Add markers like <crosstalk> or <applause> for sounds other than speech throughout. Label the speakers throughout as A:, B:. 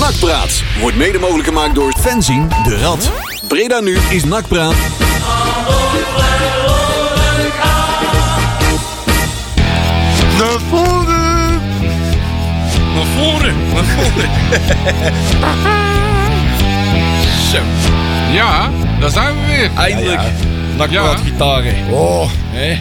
A: Nakpraat wordt mede mogelijk gemaakt door Fenzien de Rad. Breda nu is Nakpraat.
B: Naar voren! Naar voren! Naar
C: <laughs>
B: voren!
D: Zo.
B: Ja, daar zijn we weer.
C: Ah,
D: Eindelijk.
C: Ja,
D: Ja.
C: Nakpraat gitaren.
D: Oh.
C: Hè?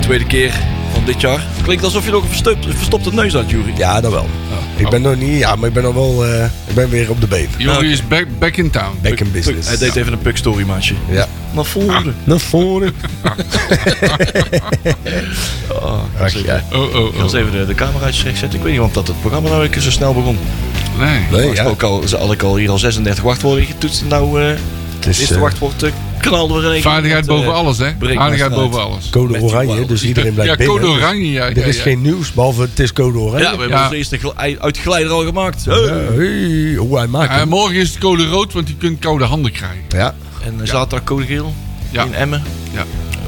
C: Tweede keer van dit jaar. Klinkt alsof je nog een verstupt- verstopte neus had, Jury.
E: Ja, dat wel. Ik ben nog niet, ja, maar ik ben nog wel, eh, ik ben weer op de been.
B: Jury is back, back in town.
E: Back in business.
C: Hij deed even een puk story maatje.
E: Ja. Ah,
C: Naar voren.
E: Naar voren. Ach, ja.
B: Oh,
C: Ik
B: oh,
C: wil eens
B: oh.
C: even de, de camera zetten. Ik weet niet waarom dat het programma nou weer zo snel begon.
B: Nee.
E: Nee,
C: Ja.
E: Eh, ja.
C: Ook al had ik al hier al 36 wachtwoorden getoetst. en Nou, eh
E: Het
C: het
E: is
C: eerste
E: eh,
C: wachtwoord eh, knalde we er een.
B: Vaardigheid
C: Met, eh,
B: boven alles, hè?
C: breekt
B: Vaardigheid
C: maar snelheid.
B: boven alles.
E: code
C: Met die
E: oranje,
C: blauw.
E: dus iedereen blijft
B: Ja,
E: binnen.
B: code
E: Dus
B: oranje, ja, ja,
E: Er is
B: ja.
E: geen nieuws, behalve het is code oranje.
C: Ja, we hebben
B: Ja.
C: onze eerste gel- uitgeleider al gemaakt. Hey.
E: Ja, hey, hoe hij maakt
B: Eh,
E: hem.
B: morgen is het code rood, want je kunt koude handen krijgen.
E: Ja,
C: En eh, zaterdag code geel.
B: Ja.
C: In Emmen.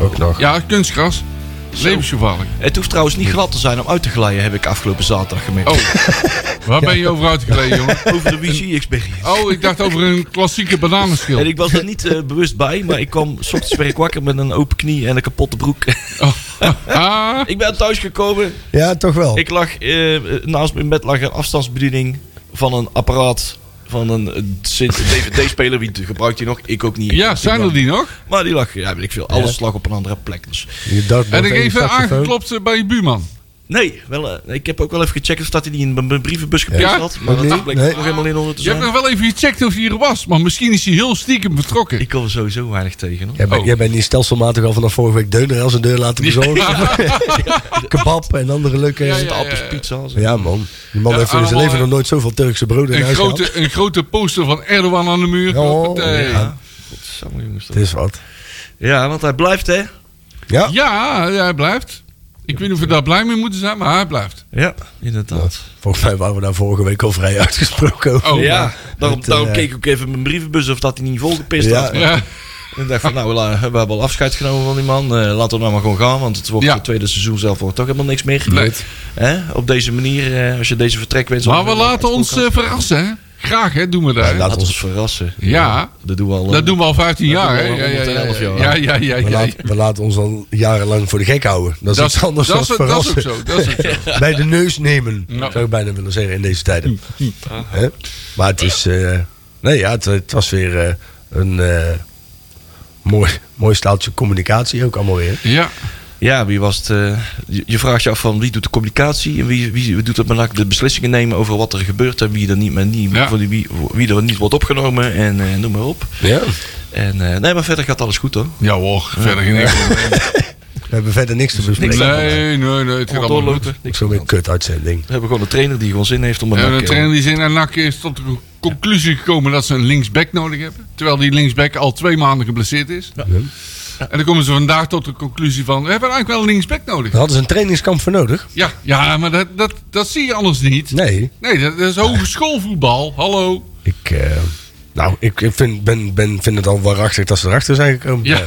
E: ook nog.
B: Ja, kunstgras. Levensgevaarlijk.
C: Het hoeft trouwens niet glad te zijn om uit te glijden, heb ik afgelopen zaterdag gemerkt.
B: Oh.
E: <laughs>
B: Waar ben je over uitgeleden, jongen?
C: Over de WG experience.
B: Oh, ik dacht over een klassieke bananenschil.
C: En ik was <laughs> er niet eh, bewust bij, maar ik kwam 's ochtends weer wakker met een open knie en een kapotte broek. <laughs>
B: Oh. Ah,
C: ik ben thuis gekomen.
E: Ja, toch wel.
C: Ik lag eh, naast mijn bed lag een afstandsbediening van een apparaat van een eh, Sint- DVD-speler. Wie gebruikt die nog? Ik ook niet.
B: <laughs> ja, zijn er die nog?
C: Maar die lag, ja, weet ik veel. Alles lag op een andere plek. Dus.
E: Je dartboard
B: En ik
E: je
B: even
E: saxofoon.
B: aangeklopt eh, bij je buurman.
C: Nee, wel, eh, ik heb ook wel even gecheckt of dat hij niet in mijn- mijn brievenbus gepikt
B: Ja?
C: had. Maar
E: Nee,
C: dat bleek
E: nee.
C: nog helemaal in orde te
B: Je hebt
C: zijn.
B: nog wel even gecheckt of hij er was, maar misschien is hij heel stiekem vertrokken.
C: Ik kom er sowieso weinig tegen. Hoor.
E: Jij bent,
B: Oh.
E: jij bent niet stelselmatig al vanaf vorige week deuner als een deur laten bezorgen. <laughs> Kebab en andere leuke...
B: Ja,
E: Ja,
B: ja.
C: De appelspizza's.
E: man. Die man
B: Ja,
E: heeft in zijn
B: allemaal-
E: leven nog nooit zoveel Turkse broden in
B: Een
E: huis gehad.
B: grote, eh. een grote poster van Erdogan aan de muur.
E: Ja,
B: Hoppatee.
E: ja.
C: Godsamme, jongens, dat-
E: Het is wat.
C: Ja, want hij blijft, hè?
E: Ja,
B: Ja, hij blijft. Ik weet niet of we daar blij mee moeten zijn, maar hij blijft.
C: Ja, inderdaad.
E: volgens mij waren we daar vorige week al vrij <laughs> uitgesproken over.
B: Oh,
C: ja, daarom,
E: Het,
C: daarom
E: eh,
C: keek ik ook even mijn brievenbus of dat hij niet volgepist
E: Ja.
C: had.
B: Ja,
C: En dacht van, nou, la- we hebben al afscheid genomen van die man. Eh, laten we nou maar gewoon gaan, want het wordt
B: Ja.
C: het tweede seizoen zelf wordt toch helemaal niks meer.
B: nee.
C: Hè? Op deze manier, eh, als je deze vertrek wenst...
B: Maar we laten ons eh, verrassen, hè? Graag, hè? Doen we dat.
E: Ja,
B: hè?
E: laat
C: Laat
E: ons-
C: ons verrassen.
B: Ja.
C: Dat doen we al. eh,
B: Dat doen we al 15
C: dat
B: jaar, hè?
C: doen we
B: Ja,
C: al
B: ja, ja,
C: 111 jaar.
B: ja. ja, ja, ja.
E: we, laten- we laten ons al jarenlang voor de gek houden. Dat is
B: Dat
E: iets anders
B: dat is-
E: dan
B: dat is ook
E: verrassen.
B: zo. Dat is ook zo.
E: <laughs> Bij de neus nemen,
B: Ja.
E: zou ik bijna willen zeggen, in deze tijden. Hè? Maar het is... eh, nee, ja, het, het was weer eh, een eh, mooi, mooi staaltje communicatie ook allemaal weer.
B: Ja,
C: Ja, wie was het? eh, je, je vraagt je af van wie doet de communicatie en wie, wie doet het maar de beslissingen nemen over wat er gebeurt en wie er niet, maar niet
B: Ja.
C: voor die- wie, wie er niet wordt opgenomen en eh, noem maar op.
E: Ja.
C: En eh, nee, maar verder gaat alles goed hoor.
B: ja hoor, verder geen enkel probleem.
E: We hebben verder niks te bespreken.
B: Nee, nee, nee, het gaat
C: Gewoon
B: allemaal goed.
C: doorlopen.
E: Ik zo'n weer kut uitzending.
C: We hebben gewoon een trainer die gewoon zin heeft om een
B: En de
C: NAC, eh,
B: trainer die zin en NAC is tot de conclusie gekomen dat ze een linksback nodig hebben. Terwijl die linksback al twee maanden geblesseerd is. En dan komen ze vandaag tot de conclusie van, we hebben eigenlijk wel een linksback nodig.
E: Daar hadden ze een trainingskamp voor nodig.
B: Ja, ja maar dat, dat, dat zie je anders niet.
E: Nee,
B: Nee, dat, dat is hogeschoolvoetbal. Hallo.
E: ik... eh, nou, ik, ik vind, ben, ben, vind het al waarachtig dat ze erachter zijn gekomen.
B: Ja,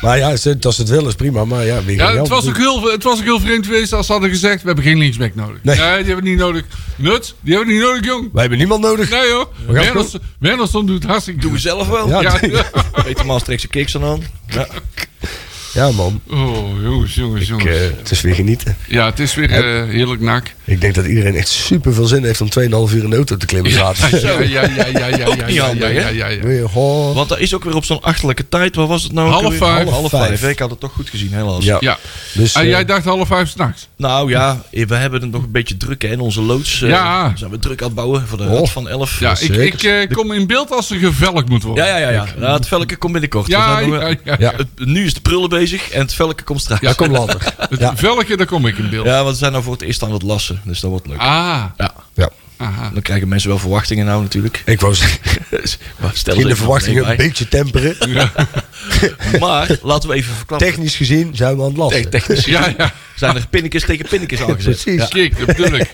E: Maar ja, ze- als ze het willen is prima. Maar ja, wie
B: ja
E: gaat
B: het,
E: jou
B: was ook
E: verzoeken?
B: heel, het was ook heel vreemd geweest als ze hadden gezegd, we hebben geen linksback nodig.
E: Nee.
B: Nee, die hebben we niet nodig. Nut, die hebben we niet nodig, jong.
E: Wij hebben niemand nodig.
B: Nee hoor,
E: gaan
B: Wernersson- Wernersson doet hartstikke
C: Doen we
B: goed.
C: zelf wel.
E: Ja.
B: Ja,
C: <laughs> Peter Maastrichtse kicks dan aan. Ja.
E: Ja, man.
B: Oh, jongens, jongens,
E: Ik,
B: jongens.
E: eh, het is weer genieten.
B: Ja, het is weer eh, heerlijk nak.
E: Ik denk dat iedereen echt super veel zin heeft om 2,5 uur in de auto te klimmen zaterdag.
B: Ja, ja, ja, ja, ja,
C: Ook
B: ja,
C: niet
B: ja,
C: handig,
B: ja,
C: hè?
B: ja, ja.
E: Weer, goh.
C: Want dat is ook weer op zo'n achterlijke tijd. Waar was het nou? ook
B: Half
C: alweer?
B: vijf.
C: Half, half
E: Half
C: vijf.
E: vijf.
C: Ik had het toch goed gezien, helaas.
E: Ja.
B: Ja.
E: Dus,
B: En
E: eh,
B: jij dacht half vijf s'nachts.
C: Nou ja, we hebben het nog een beetje druk hè, in onze loods. eh,
B: Ja.
C: Zijn we druk aan het bouwen voor de
E: Oh.
C: Rad van 11.
B: Ja,
C: Dus,
B: ik,
E: zeker.
B: ik eh, kom in beeld als er gevelk moet worden.
C: Ja, ja, ja. ja. ja het velken komt binnenkort.
B: Ja,
C: We zijn nog wel-
B: ja, ja.
E: Ja.
C: Het- nu is de prullen bezig en het velken komt straks.
E: ja, kom later.
B: <laughs> Het
E: Ja.
B: velkje, daar kom ik in beeld.
C: <laughs> Ja, want we zijn nou voor het eerst aan het lassen. Dus dat wordt leuk.
B: Ah,
C: Ja.
E: Ja.
B: aha.
C: Dan krijgen mensen wel verwachtingen nou natuurlijk. <laughs>
E: Ik wou zeggen,
C: Maar stel
E: in
C: er
E: de
C: even
E: verwachtingen een
C: bij.
E: beetje temperen.
C: <laughs> Maar laten we even verklappen.
E: Technisch gezien zijn we aan het
C: Te-
E: lasten.
C: technisch
B: Ja, ja,
C: zijn er pinnetjes tegen pinnetjes aangezet.
E: Precies.
B: kijk, dat bedoel ik.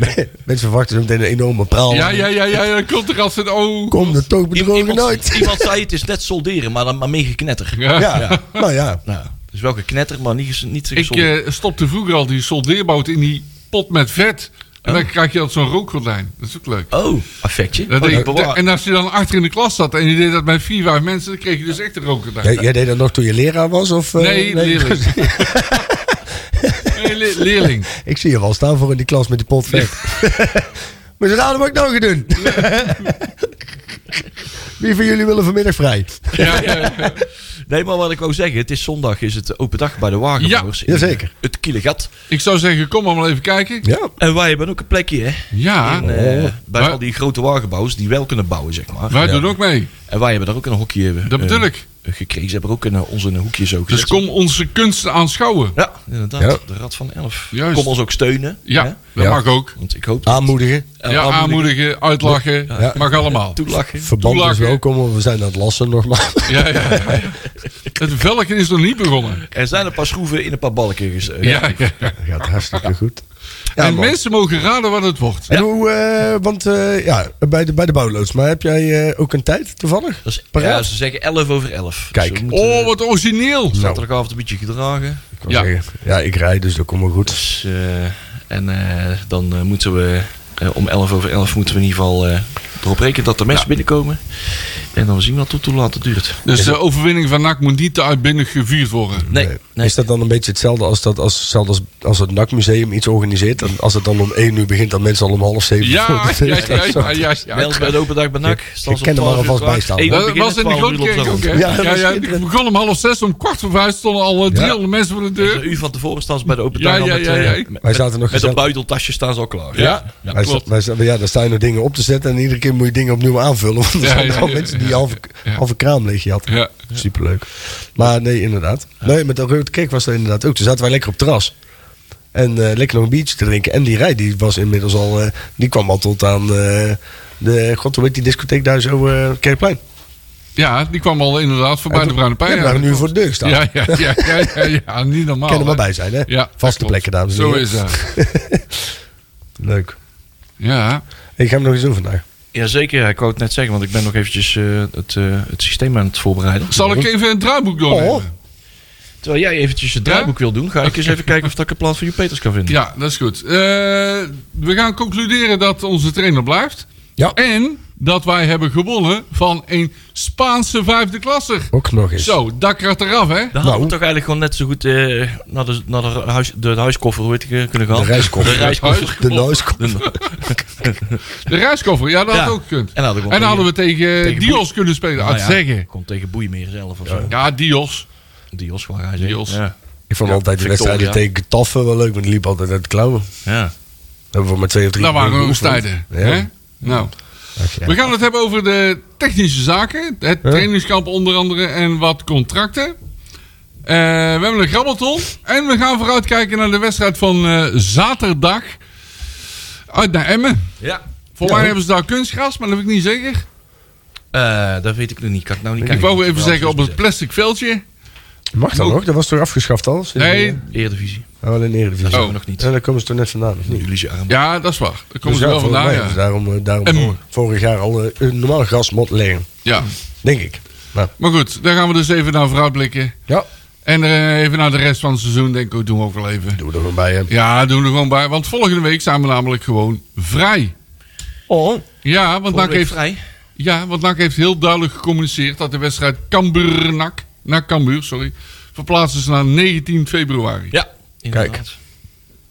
E: <laughs> Mensen verwachten zo meteen een enorme praal.
B: Ja, ja, ja, ja, dan komt er als een oh.
E: Kom er toch
C: I-
E: bedrogen
C: iemand,
E: uit.
C: iemand zei het is net solderen, maar, dan, maar meer geknetter.
B: Ja.
E: Ja, nou ja.
C: Nou, dus wel geknetter, maar niet, ges- niet
B: Ik
C: gesolderd.
B: eh, stopte vroeger al die soldeerbout in die pot met vet. En dan krijg je altijd zo'n rookgordijn. Dat is ook leuk.
C: Oh, affectje.
B: eh, Dat
C: Oh,
B: deed-
C: die bewaar-
B: en als je dan achter in de klas zat en je deed dat met vier, vijf mensen, dan kreeg je dus echt een rookgordijn.
E: Jij, jij deed dat nog toen je leraar was? Of, eh,
B: Nee, leerling. <laughs> nee, le- leerling.
E: <laughs> Ik zie je wel staan voor in die klas met die pot vet. maar ze raden wat ik nou ga doen. <laughs> Wie van jullie willen vanmiddag vrij?
B: Ja, eh,
C: Nee, maar wat ik wou zeggen, het is zondag is het open dag bij de Wagenbouwers.
E: Ja, jazeker.
C: In eh, Het Kielegat.
B: ik zou zeggen, kom allemaal even kijken.
E: Ja.
C: En wij hebben ook een plekje, hè?
B: Ja,
C: En, eh, bij
B: Wij-
C: al die grote wagenbouwers die wel kunnen bouwen, zeg maar.
B: wij
C: Ja.
B: doen ook mee.
C: En wij hebben daar ook een hokje eh,
B: Dat bedoel ik.
C: gekregen. Ze hebben ook een, eh, ons in een hoekje zo gezet.
B: Dus kom onze kunsten aanschouwen.
C: Ja, inderdaad.
E: Ja.
C: De Rad van Elf.
B: Juist.
C: Kom ons ook steunen.
B: Ja,
C: hè?
B: dat
E: Ja.
B: mag ook.
C: Want ik hoop dat...
E: Aanmoedigen.
C: eh,
B: Ja,
C: aanmoedigen,
B: aanmoedigen, uitlachen,
E: Ja.
B: mag allemaal.
C: Toelachen.
E: Verband is
B: Toelachen.
E: welkom, want we zijn aan het lassen nogmaals.
B: Ja, ja, ja, ja. Het velgen is nog niet begonnen.
C: Er zijn een paar schroeven in een paar balken. ges- eh,
B: Ja, ja.
E: Dat gaat hartstikke goed. Ja,
B: En
E: man.
B: mensen mogen raden wat het wordt.
E: En hoe, eh, want eh, ja, bij de, bij de bouwloods, maar heb jij eh, ook een tijd toevallig?
C: Dat is,
E: Paraat.
C: ja, ze zeggen 11 over 11.
E: Kijk.
C: Dus we moeten
B: Oh, wat origineel.
C: zaterdagavond een beetje gedragen.
E: Ik wou
B: Ja.
E: zeggen, ja, ik rijd, dus dat komt wel goed.
C: Dus, eh, en eh, dan eh, moeten we eh, om 11 over 11 moeten we in ieder geval eh, erop rekenen dat er mensen binnenkomen. En dan zien we dat tot hoe laat het duurt.
B: Dus de overwinning van NAC moet niet te uitbundig gevierd worden.
C: Nee,
E: Nee.
C: nee.
E: Is dat dan een beetje hetzelfde als, dat, als, hetzelfde als, als het NAC-museum iets organiseert? En als het dan om 1 uur begint, dan mensen al om half 7 <laughs>
B: Ja, ja, ja, ja, ja, ja,
C: Meld bij de open dag bij NAC. Staan ze om
E: ken er maar
C: 12 uur
E: alvast bij
C: klaar.
E: staan.
C: Eén uur
B: Dat
C: beginnen,
B: was in de
C: 12 uur op
B: Grootkerk ook, hè?
C: avond.
E: Ja, dat
B: Ja,
E: was
B: ja, ik
E: schitterend.
B: begon om half zes, om kwart voor vijf stonden al eh, 300 mensen voor de
C: Dus
B: deur.
C: Een uur van tevoren staan ze bij de open
B: Ja,
C: dag al
B: ja,
C: met,
B: ja,
C: eh,
B: ja.
C: met-
E: Wij zaten nog
C: met
E: gezellig-
C: een buideltasje staan ze al klaar.
B: Ja,
E: Wij
B: klopt.
E: sta- wij sta- ja, daar staan er dingen op te zetten en iedere keer moet je dingen opnieuw aanvullen. Want er
B: Ja,
E: zijn
B: ja,
E: al
B: ja,
E: mensen
B: ja,
E: die
B: ja,
E: halve
B: ja.
E: halve kraam leeg had.
B: Ja.
E: Superleuk. Maar nee, inderdaad. Nee, met de Rode Kerk was dat inderdaad ook. Toen zaten wij lekker op het terras. En eh, lekker nog een biertje te drinken. En die rij die was inmiddels al... eh, die kwam al tot aan eh, de... God, hoe heet die discotheek daar zo? eh, Kerkplein.
B: Ja, die kwam al inderdaad voorbij
E: En
B: de
E: toen-
B: Bruine Pijn.
E: Ja, we waren nu voor de deur staan.
B: Ja, ja, ja, ja, ja, ja, niet normaal.
E: <laughs> Kan er maar
B: hè?
E: bij zijn, hè?
B: Ja, dat
E: Vaste
B: klopt.
E: plekken, dames en
B: Zo
E: heren.
B: is dat.
E: <laughs> Leuk.
B: Ja,
E: Ik ga hem nog eens doen vandaag.
C: Jazeker, ik wou het net zeggen, want ik ben nog eventjes eh, het, eh, het systeem aan het voorbereiden.
B: zal ik even een draaiboek doornemen?
E: Oh.
C: Terwijl jij eventjes het
B: Ja?
C: draaiboek wil doen, ga ik eens even kijken of dat ik een plan voor je Peters kan vinden.
B: Ja, dat is goed. Eh, we gaan concluderen dat onze trainer blijft.
E: Ja.
B: En dat wij hebben gewonnen van een Spaanse vijfde klasser.
E: Ook nog eens.
B: Zo, dak gaat eraf, hè?
C: Dan hadden we toch eigenlijk gewoon net zo goed eh, naar, de, naar de, huis, de huiskoffer hoe heet ik, eh, kunnen gaan.
E: De reiskoffer.
C: De reiskoffer.
E: De noise
B: De reiskoffer, ja, dat
C: Ja.
B: had ook gekund.
C: En dan
E: nou,
C: hadden we,
B: En dan hadden we
E: eh,
B: tegen,
C: tegen
B: Dios
C: Boei-
B: kunnen spelen,
C: Nou
B: uit
C: ja,
B: zeggen.
C: Komt tegen Boeimeer zelf of zo.
B: Ja, Dios.
C: Dios, waar hij zegt.
B: Dios.
C: Ja.
E: Ik vond
C: Ja,
E: altijd de
C: Victoria.
E: wedstrijden tegen Getafe wel leuk, want die liep altijd uit de klauwen. Dat
C: ja.
E: hebben we maar twee of drie
B: Dat
E: keer
B: Nou, waren ons
E: geoefend.
B: tijden.
E: Ja.
B: hè? Nou,
E: Ach, ja.
B: we gaan het hebben over de technische zaken. Het trainingskamp onder andere en wat contracten. Eh, we hebben een grabbelton. En we gaan vooruitkijken naar de wedstrijd van eh, zaterdag. Uit naar Emmen.
C: ja.
B: Voor mij hebben ze daar kunstgras, maar dat weet ik niet zeker.
C: Eh, dat weet ik nog niet. Kan ik nou niet
B: Ik
C: kijken.
B: wou
C: Moet
B: even
C: wel
B: zeggen, op
C: eens
B: het plastic veldje.
E: Mag dat nog? Dat was toch afgeschaft al? Sinds-
B: Nee,
C: zeggen. Eredivisie.
E: Oh, alleen de Eredivisie.
C: Daar zijn we
B: Oh.
C: nog niet.
E: Ja, daar komen ze toch net vandaan, of niet?
C: Jullie arm.
B: ja, dat is waar. Daar komen
E: Dus
B: ze
E: ja,
B: wel
E: volgens
B: vandaan,
E: mij is
B: ja. Ehm.
E: Daarom, eh, daarom
B: En-
E: vor- vorig jaar al eh, een normale grasmat leggen,
B: ja.
E: denk ik. Nou,
B: Maar goed, daar gaan we dus even naar vooruitblikken.
E: ja,
B: En eh, even naar de rest van het seizoen, denk ik, ook, doen we ook wel even.
E: doen we er gewoon bij. Hè.
B: Ja, doen we er gewoon bij. Want volgende week zijn we namelijk gewoon vrij.
E: Oh.
B: Ja, want NAC
C: Volgende week
B: heeft,
C: vrij.
B: ja, want NAC heeft heel duidelijk gecommuniceerd dat de wedstrijd Cambuur-NAC, naar Cambuur, sorry, verplaatst is naar 19 februari.
C: Ja, inderdaad.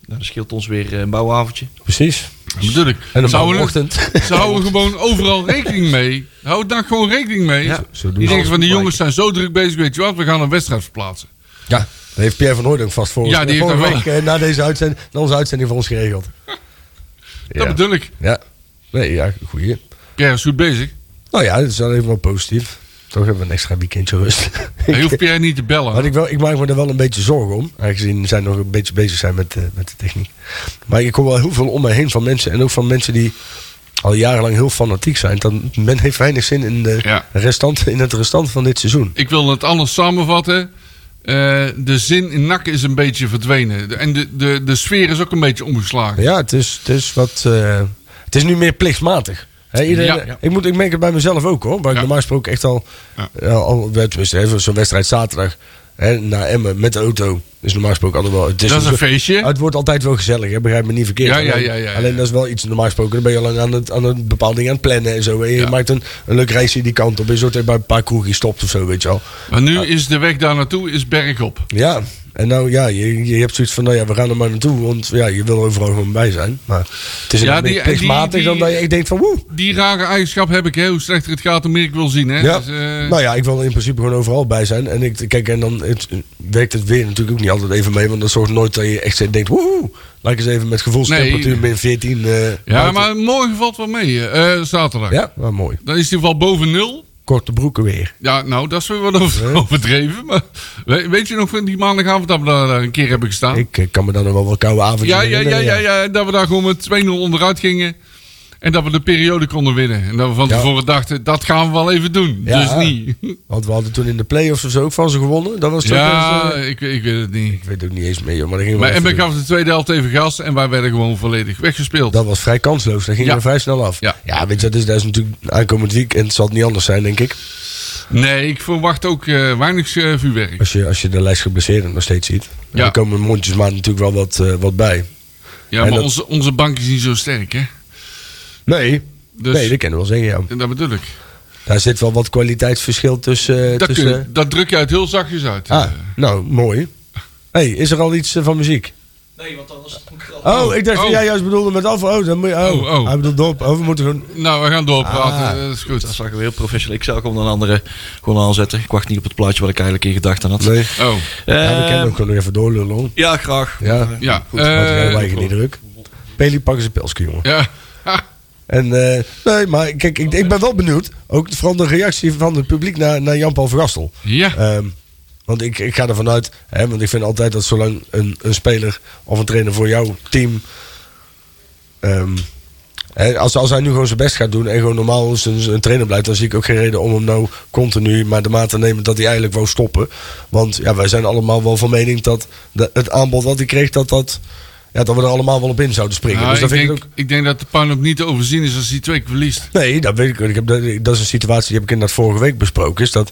C: Nou, dat scheelt ons weer eh, een bouwavondje.
E: Precies.
B: Dat bedoel ik.
E: En
B: Ze
E: een
B: houden-
E: ochtend.
B: Ze
E: <laughs>
B: houden gewoon overal rekening mee. Houd daar gewoon rekening mee.
C: Ja,
E: zo doen
B: die
E: ze
B: denken van,
C: het.
B: die jongens zijn zo druk bezig, weet je wat, we gaan een wedstrijd verplaatsen.
E: Ja, dat heeft Pierre van Hooydonk vast voor
B: Ja, die
E: ons.
B: heeft
E: vorige
B: er wel-
E: week eh, na, deze uitzending, na onze uitzending voor ons geregeld.
B: Dat
E: ja.
B: bedoel ik.
E: ja. Nee, ja, goeie.
B: Pierre is goed bezig.
E: Nou ja, dat is dan even wel positief. Toch hebben we een extra weekendje rust.
B: Hij hoeft Pierre niet te bellen.
E: Wat ik, wel, ik maak me er wel een beetje zorgen om. Aangezien zij nog een beetje bezig zijn met, eh, met de techniek. Maar ik hoor wel heel veel om mij heen van mensen. En ook van mensen die al jarenlang heel fanatiek zijn. Dan, men heeft weinig zin in, de
B: Ja.
E: restant, in het restant van dit seizoen.
B: Ik wil het anders samenvatten. Eh, de zin in nak is een beetje verdwenen. De- En de, de, de sfeer is ook een beetje omgeslagen.
E: Ja, het is, het is wat... eh, het is nu meer plichtmatig. Hè, iedereen,
B: Ja, ja.
E: Ik, moet, ik merk het bij mezelf ook hoor. Waar ik
B: Ja.
E: normaal gesproken echt al...
B: Ja.
E: eh, al tenminste, hè, zo'n wedstrijd zaterdag hè, naar Emmen met de auto. Dus normaal gesproken altijd wel... Het
B: Dat is een
E: zo-
B: feestje.
E: Het wordt altijd wel gezellig, hè? begrijp me niet verkeerd.
B: Ja, ja,
E: Alleen-
B: ja, ja, ja.
E: Alleen dat is wel iets, normaal gesproken dan ben je al lang aan, het, aan een bepaald ding aan het plannen en zo. En je
B: Ja.
E: maakt een, een leuk reisje die kant op. Je soort bij een paar kroegjes stopt of zo, weet je wel.
B: Maar nu is de weg daar naartoe is bergop.
E: Ja, en nou ja, je, je hebt zoiets van, nou ja, we gaan er maar naartoe. Want ja, je wil overal gewoon bij zijn. Maar het is
B: Ja,
E: een
B: die-
E: beetje
B: en die-
E: plichtmatig dan
B: die-
E: dat je echt denkt van, woe.
B: Die rare eigenschap heb ik, hè. Hoe slechter het gaat, hoe meer ik wil zien, hè.
E: Ja.
B: Dus, eh,
E: Nou ja, ik wil in principe gewoon overal bij zijn. En ik, kijk, en dan het, werkt het weer natuurlijk ook niet altijd even mee. Want dat zorgt nooit dat je echt denkt, woe, laat ik eens even met gevoelstemperatuur
B: Nee.
E: min 14. eh,
B: ja,
E: buiten.
B: maar morgen valt wel mee, eh, eh, zaterdag.
E: Ja, maar mooi.
B: Dan is die wel boven nul.
E: Korte broeken weer.
B: Ja, nou, dat is weer wat over-
E: Hè?
B: overdreven. Maar we- weet je nog van die maandagavond dat we daar een keer hebben gestaan?
E: Ik eh, kan me dan nog wel wat koude avondjes
B: Ah. ja, ja, ja,
E: herinneren,
B: ja, ja, dat we daar gewoon met 2-0 onderuit gingen. En dat we de periode konden winnen. En dat we van
E: Ja.
B: tevoren dachten, dat gaan we wel even doen.
E: Ja.
B: Dus
E: <laughs>
B: niet.
E: Want we hadden toen in de play-offs of zo ook van ze gewonnen. Dat was
B: <laughs>
E: toch
B: Ja,
E: eens, eh,
B: ik, ik weet het niet.
E: ik weet het ook niet eens meer, joh, maar dat ging
B: Maar
E: wel even
B: Emmen gaf de tweede helft even gas en wij werden gewoon volledig weggespeeld.
E: Dat was vrij kansloos. Dat ging
B: Ja.
E: er vrij snel af.
B: Ja.
E: weet je, dat is, dat is natuurlijk aankomend weekend. Zal het niet anders zijn, denk ik.
B: Nee, ik verwacht ook eh, weinig eh, vuurwerk.
E: Als je, als je de lijst geblesseerden nog steeds ziet.
B: Ja.
E: Dan komen mondjesmaat natuurlijk wel wat, eh, wat bij.
B: Ja,
E: En
B: maar
E: dat-
B: onze, onze bank is niet zo sterk, hè?
E: Nee.
B: Dus
E: Nee, dat kan ik wel zeggen, ja.
B: en dat bedoel ik.
E: Daar zit wel wat kwaliteitsverschil tussen... eh,
B: Dat, kun
E: tussen
B: je- dat druk je uit heel zachtjes uit. eh.
E: ah, nou, mooi. hey, is er al iets eh, van muziek?
C: Nee, want anders moet ik al...
E: Oh, ik dacht dat
B: Oh.
E: jij juist bedoelde met af. Oh, dan moet je... Oh,
B: Oh, oh.
E: hij bedoelt dorp. Oh, we moeten gewoon...
B: Nou, we gaan doorpraten.
E: Ah.
B: dat is
C: Dat
B: goed.
C: zag ik weer heel professioneel. Ik zou gewoon een andere gewoon aanzetten. Ik wacht niet op het plaatje wat ik eigenlijk in gedachten had.
E: Nee.
B: Oh,
C: Eh,
E: Ja, we kunnen ook gewoon nog even doorlullen, hoor.
C: ja, graag.
E: Ja.
B: ja.
E: Goed, maar
B: eh,
E: dan krijgen wij geen druk. Peli pakken ze pilsje, jongen.
B: ja. <laughs>
E: En, eh, nee, maar kijk, ik, ik ben wel benieuwd. Ook vooral de reactie van het publiek naar, naar Jan-Paul Vergastel.
B: ja.
E: Ehm, want ik, ik ga ervan uit, hè, want ik vind altijd dat zolang een, een speler of een trainer voor jouw team. ehm, hè, als, als hij nu gewoon zijn best gaat doen en gewoon normaal zijn, een trainer blijft, dan zie ik ook geen reden om hem nou continu maar de maat te nemen dat hij eigenlijk wou stoppen. Want ja, wij zijn allemaal wel van mening dat de- het aanbod wat hij kreeg, dat, dat, ja, dat we er allemaal wel op in zouden springen.
B: Nou,
E: dus dat
B: ik,
E: vind
B: denk,
E: ik ook.
B: ik denk dat de puinhoop niet te overzien is als hij twee keer verliest.
E: Nee, dat weet ik. ook. ik heb, dat, dat is een situatie die heb ik inderdaad vorige week besproken. Is dat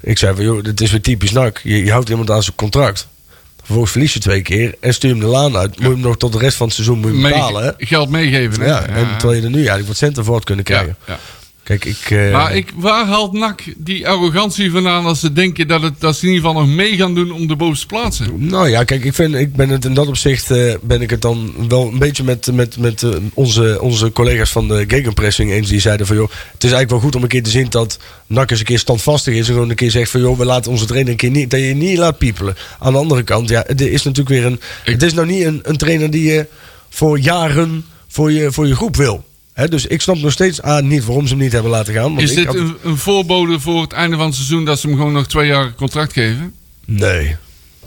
E: ik zei van, joh, dit is weer typisch NAC. Je, je houdt iemand aan zijn contract. Vervolgens verlies je twee keer en stuur hem de laan uit. Moet je hem nog tot de rest van het seizoen moet je hem
B: Mee-
E: betalen. Hè?
B: geld meegeven. Hè?
E: Ja, en terwijl je er nu eigenlijk wat centen voor had kunnen
B: ja,
E: krijgen.
B: ja.
E: Kijk, ik... eh,
B: Maar ik, waar haalt NAC die arrogantie vandaan als ze denken dat, het, dat ze in ieder geval nog mee gaan doen om de bovenste plaatsen?
E: Nou ja, kijk, ik, vind, ik ben het in dat opzicht eh, ben ik het dan wel een beetje met, met, met eh, onze, onze collega's van de Gegenpressing eens. Die zeiden van joh, het is eigenlijk wel goed om een keer te zien dat NAC eens een keer standvastig is. En gewoon een keer zegt van joh, we laten onze trainer een keer niet, dat je niet laat piepelen. Aan de andere kant, ja, het is natuurlijk weer een,
B: Ik-
E: het is nou niet een, een trainer die je voor jaren voor je, voor je groep wil. Hè, dus ik snap nog steeds A, niet waarom ze hem niet hebben laten gaan. want
B: Is
E: ik
B: dit
E: had-
B: een, een voorbode voor het einde van het seizoen dat ze hem gewoon nog twee jaar contract geven?
E: Nee,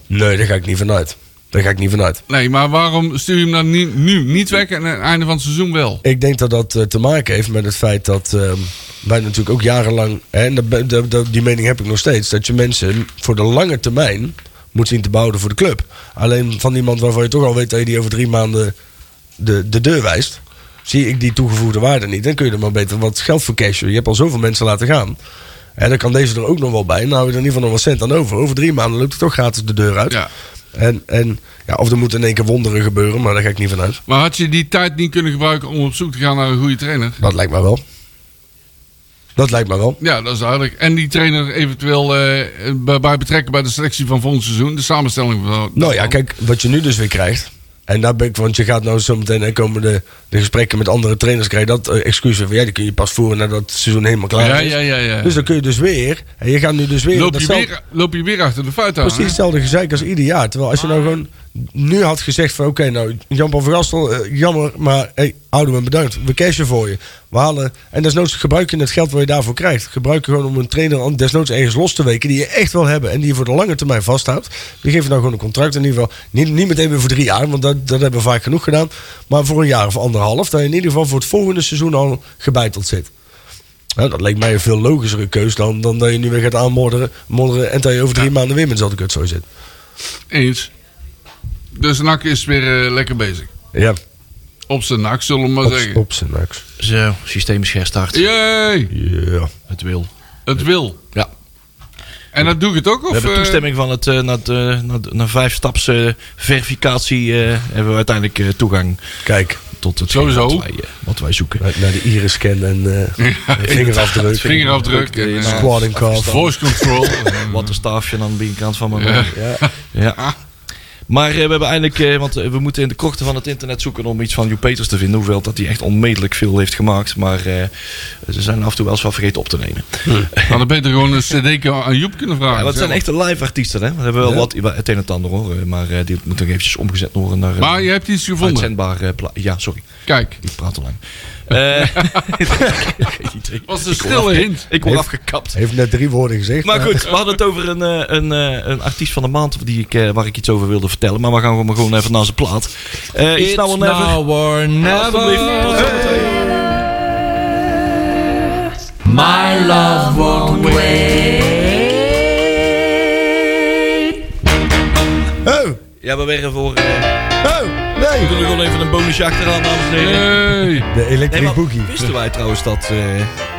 E: nee, daar ga ik niet vanuit. Daar ga ik niet vanuit.
B: Nee, maar waarom stuur je hem dan ni- nu niet weg en aan het einde van het seizoen wel?
E: Ik denk dat dat eh, te maken heeft met het feit dat ehm, wij natuurlijk ook jarenlang, hè, en dat, dat- dat- die mening heb ik nog steeds, dat je mensen voor de lange termijn moet zien te bouwen voor de club. Alleen van iemand waarvan je toch al weet dat je die over drie maanden de, de deur wijst, zie ik die toegevoegde waarde niet. Dan kun je er maar beter wat geld voor cashen. Je hebt al zoveel mensen laten gaan. En dan kan deze er ook nog wel bij. Nou, hou je er in ieder geval nog wat cent aan over. Over drie maanden loopt het toch gratis de deur uit.
B: Ja.
E: En, en, ja, of er moeten in één keer wonderen gebeuren, maar daar ga ik niet vanuit.
B: Maar had je die tijd niet kunnen gebruiken om op zoek te gaan naar een goede trainer?
E: Dat lijkt mij wel. Dat lijkt mij wel.
B: Ja, dat is duidelijk. En die trainer eventueel eh, bij, bij betrekken bij de selectie van volgend seizoen, de samenstelling van.
E: Nou ja, kijk, wat je nu dus weer krijgt. En daar ben ik, want je gaat nou zo meteen en komen de, de gesprekken met andere trainers krijgen. Dat eh, excuus weer van ja, die kun je pas voeren nadat het seizoen helemaal klaar
B: Ja,
E: is.
B: ja, ja, ja.
E: Dus dan kun je dus weer. En je gaat nu dus weer.
B: loop, je
E: datzelfde-
B: weer, loop je weer achter de feiten aan.
E: Precies
B: hè?
E: hetzelfde gezeik als ieder jaar. Terwijl als je nou gewoon nu had gezegd van oké, nou Jan-Paul Vergastel, eh, jammer, maar hey, houden we bedankt. We cashen voor je. We halen, en desnoods gebruik je het geld wat je daarvoor krijgt. Gebruik je gewoon om een trainer an- desnoods ergens los te weken die je echt wil hebben en die je voor de lange termijn vasthoudt. Die geef je nou gewoon een contract in ieder geval. Niet, niet meteen weer voor drie jaar, want dat, dat hebben we vaak genoeg gedaan. Maar voor een jaar of anderhalf, dat je in ieder geval voor het volgende seizoen al gebeiteld zit. Nou, dat leek mij een veel logischere keus dan, dan dat je nu weer gaat aanmodderen modderen, en dat je over drie maanden weer met zo'n kut zo zit.
B: Eens. Dus NAC is weer eh, lekker bezig.
E: Ja,
B: Op zijn nak, zullen we maar
E: op,
B: zeggen.
E: op zijn max.
C: Zo, systeem is herstart.
B: Jee,
E: Ja.
C: Het wil.
B: het wil.
C: Ja.
B: En dat doe ik het ook? Of,
C: We hebben
B: eh,
C: toestemming van het, eh, naar, het, eh, naar, de- naar vijf staps eh, verificatie eh, hebben we uiteindelijk eh, toegang
E: Kijk,
C: tot het
B: Sowieso.
C: wat wij, eh, wat wij zoeken.
E: naar, naar de iris scan en eh, vingerafdruk.
B: Vingerafdruk en eh,
E: Squad and cough.
B: voice
C: <laughs>
B: control. Eh,
C: Wat een staafje aan de binnenkant van mijn
B: Ja.
C: rug.
E: Ja.
C: Ja. Maar eh, we hebben eindelijk, eh, want eh, we moeten in de krochten van het internet zoeken om iets van Joep Peters te vinden. Hoewel dat hij echt onmetelijk veel heeft gemaakt. Maar eh, ze zijn af en toe wel eens wat vergeten op te nemen.
B: Had dan beter gewoon een cd aan Joep kunnen vragen.
C: Ja, dat
B: zeg
C: zijn
B: maar.
C: echte live artiesten, hè? We hebben wel wat, het een en het ander hoor. eh, Maar eh, die moet nog eventjes omgezet worden naar. eh,
B: Maar je hebt iets gevonden.
C: uitzendbaar eh, pla- Ja, sorry.
B: Kijk,
C: Ik praat te lang. Eh, geen idee.
B: was een
C: Ik word
B: stille
C: afge-
B: hint.
C: Ik word afgekapt.
E: Heeft net drie woorden gezegd.
C: Maar goed, we hadden het over een, eh, een, eh, een artiest van de maand die ik, eh, waar ik iets over wilde vertellen. Maar we gaan gewoon- gewoon even naar zijn plaat. Eh It's Now or Never.
D: or
C: Alsjeblieft.
D: My love won't wait.
E: Oh,
C: Ja, we werden voor... eh,
E: oh,
C: we
E: nee.
C: doen er gewoon even een bonusje achteraan, dames en heren.
B: Hey.
E: De Electric
C: Nee, maar
E: Boogie.
C: wisten wij trouwens dat... eh,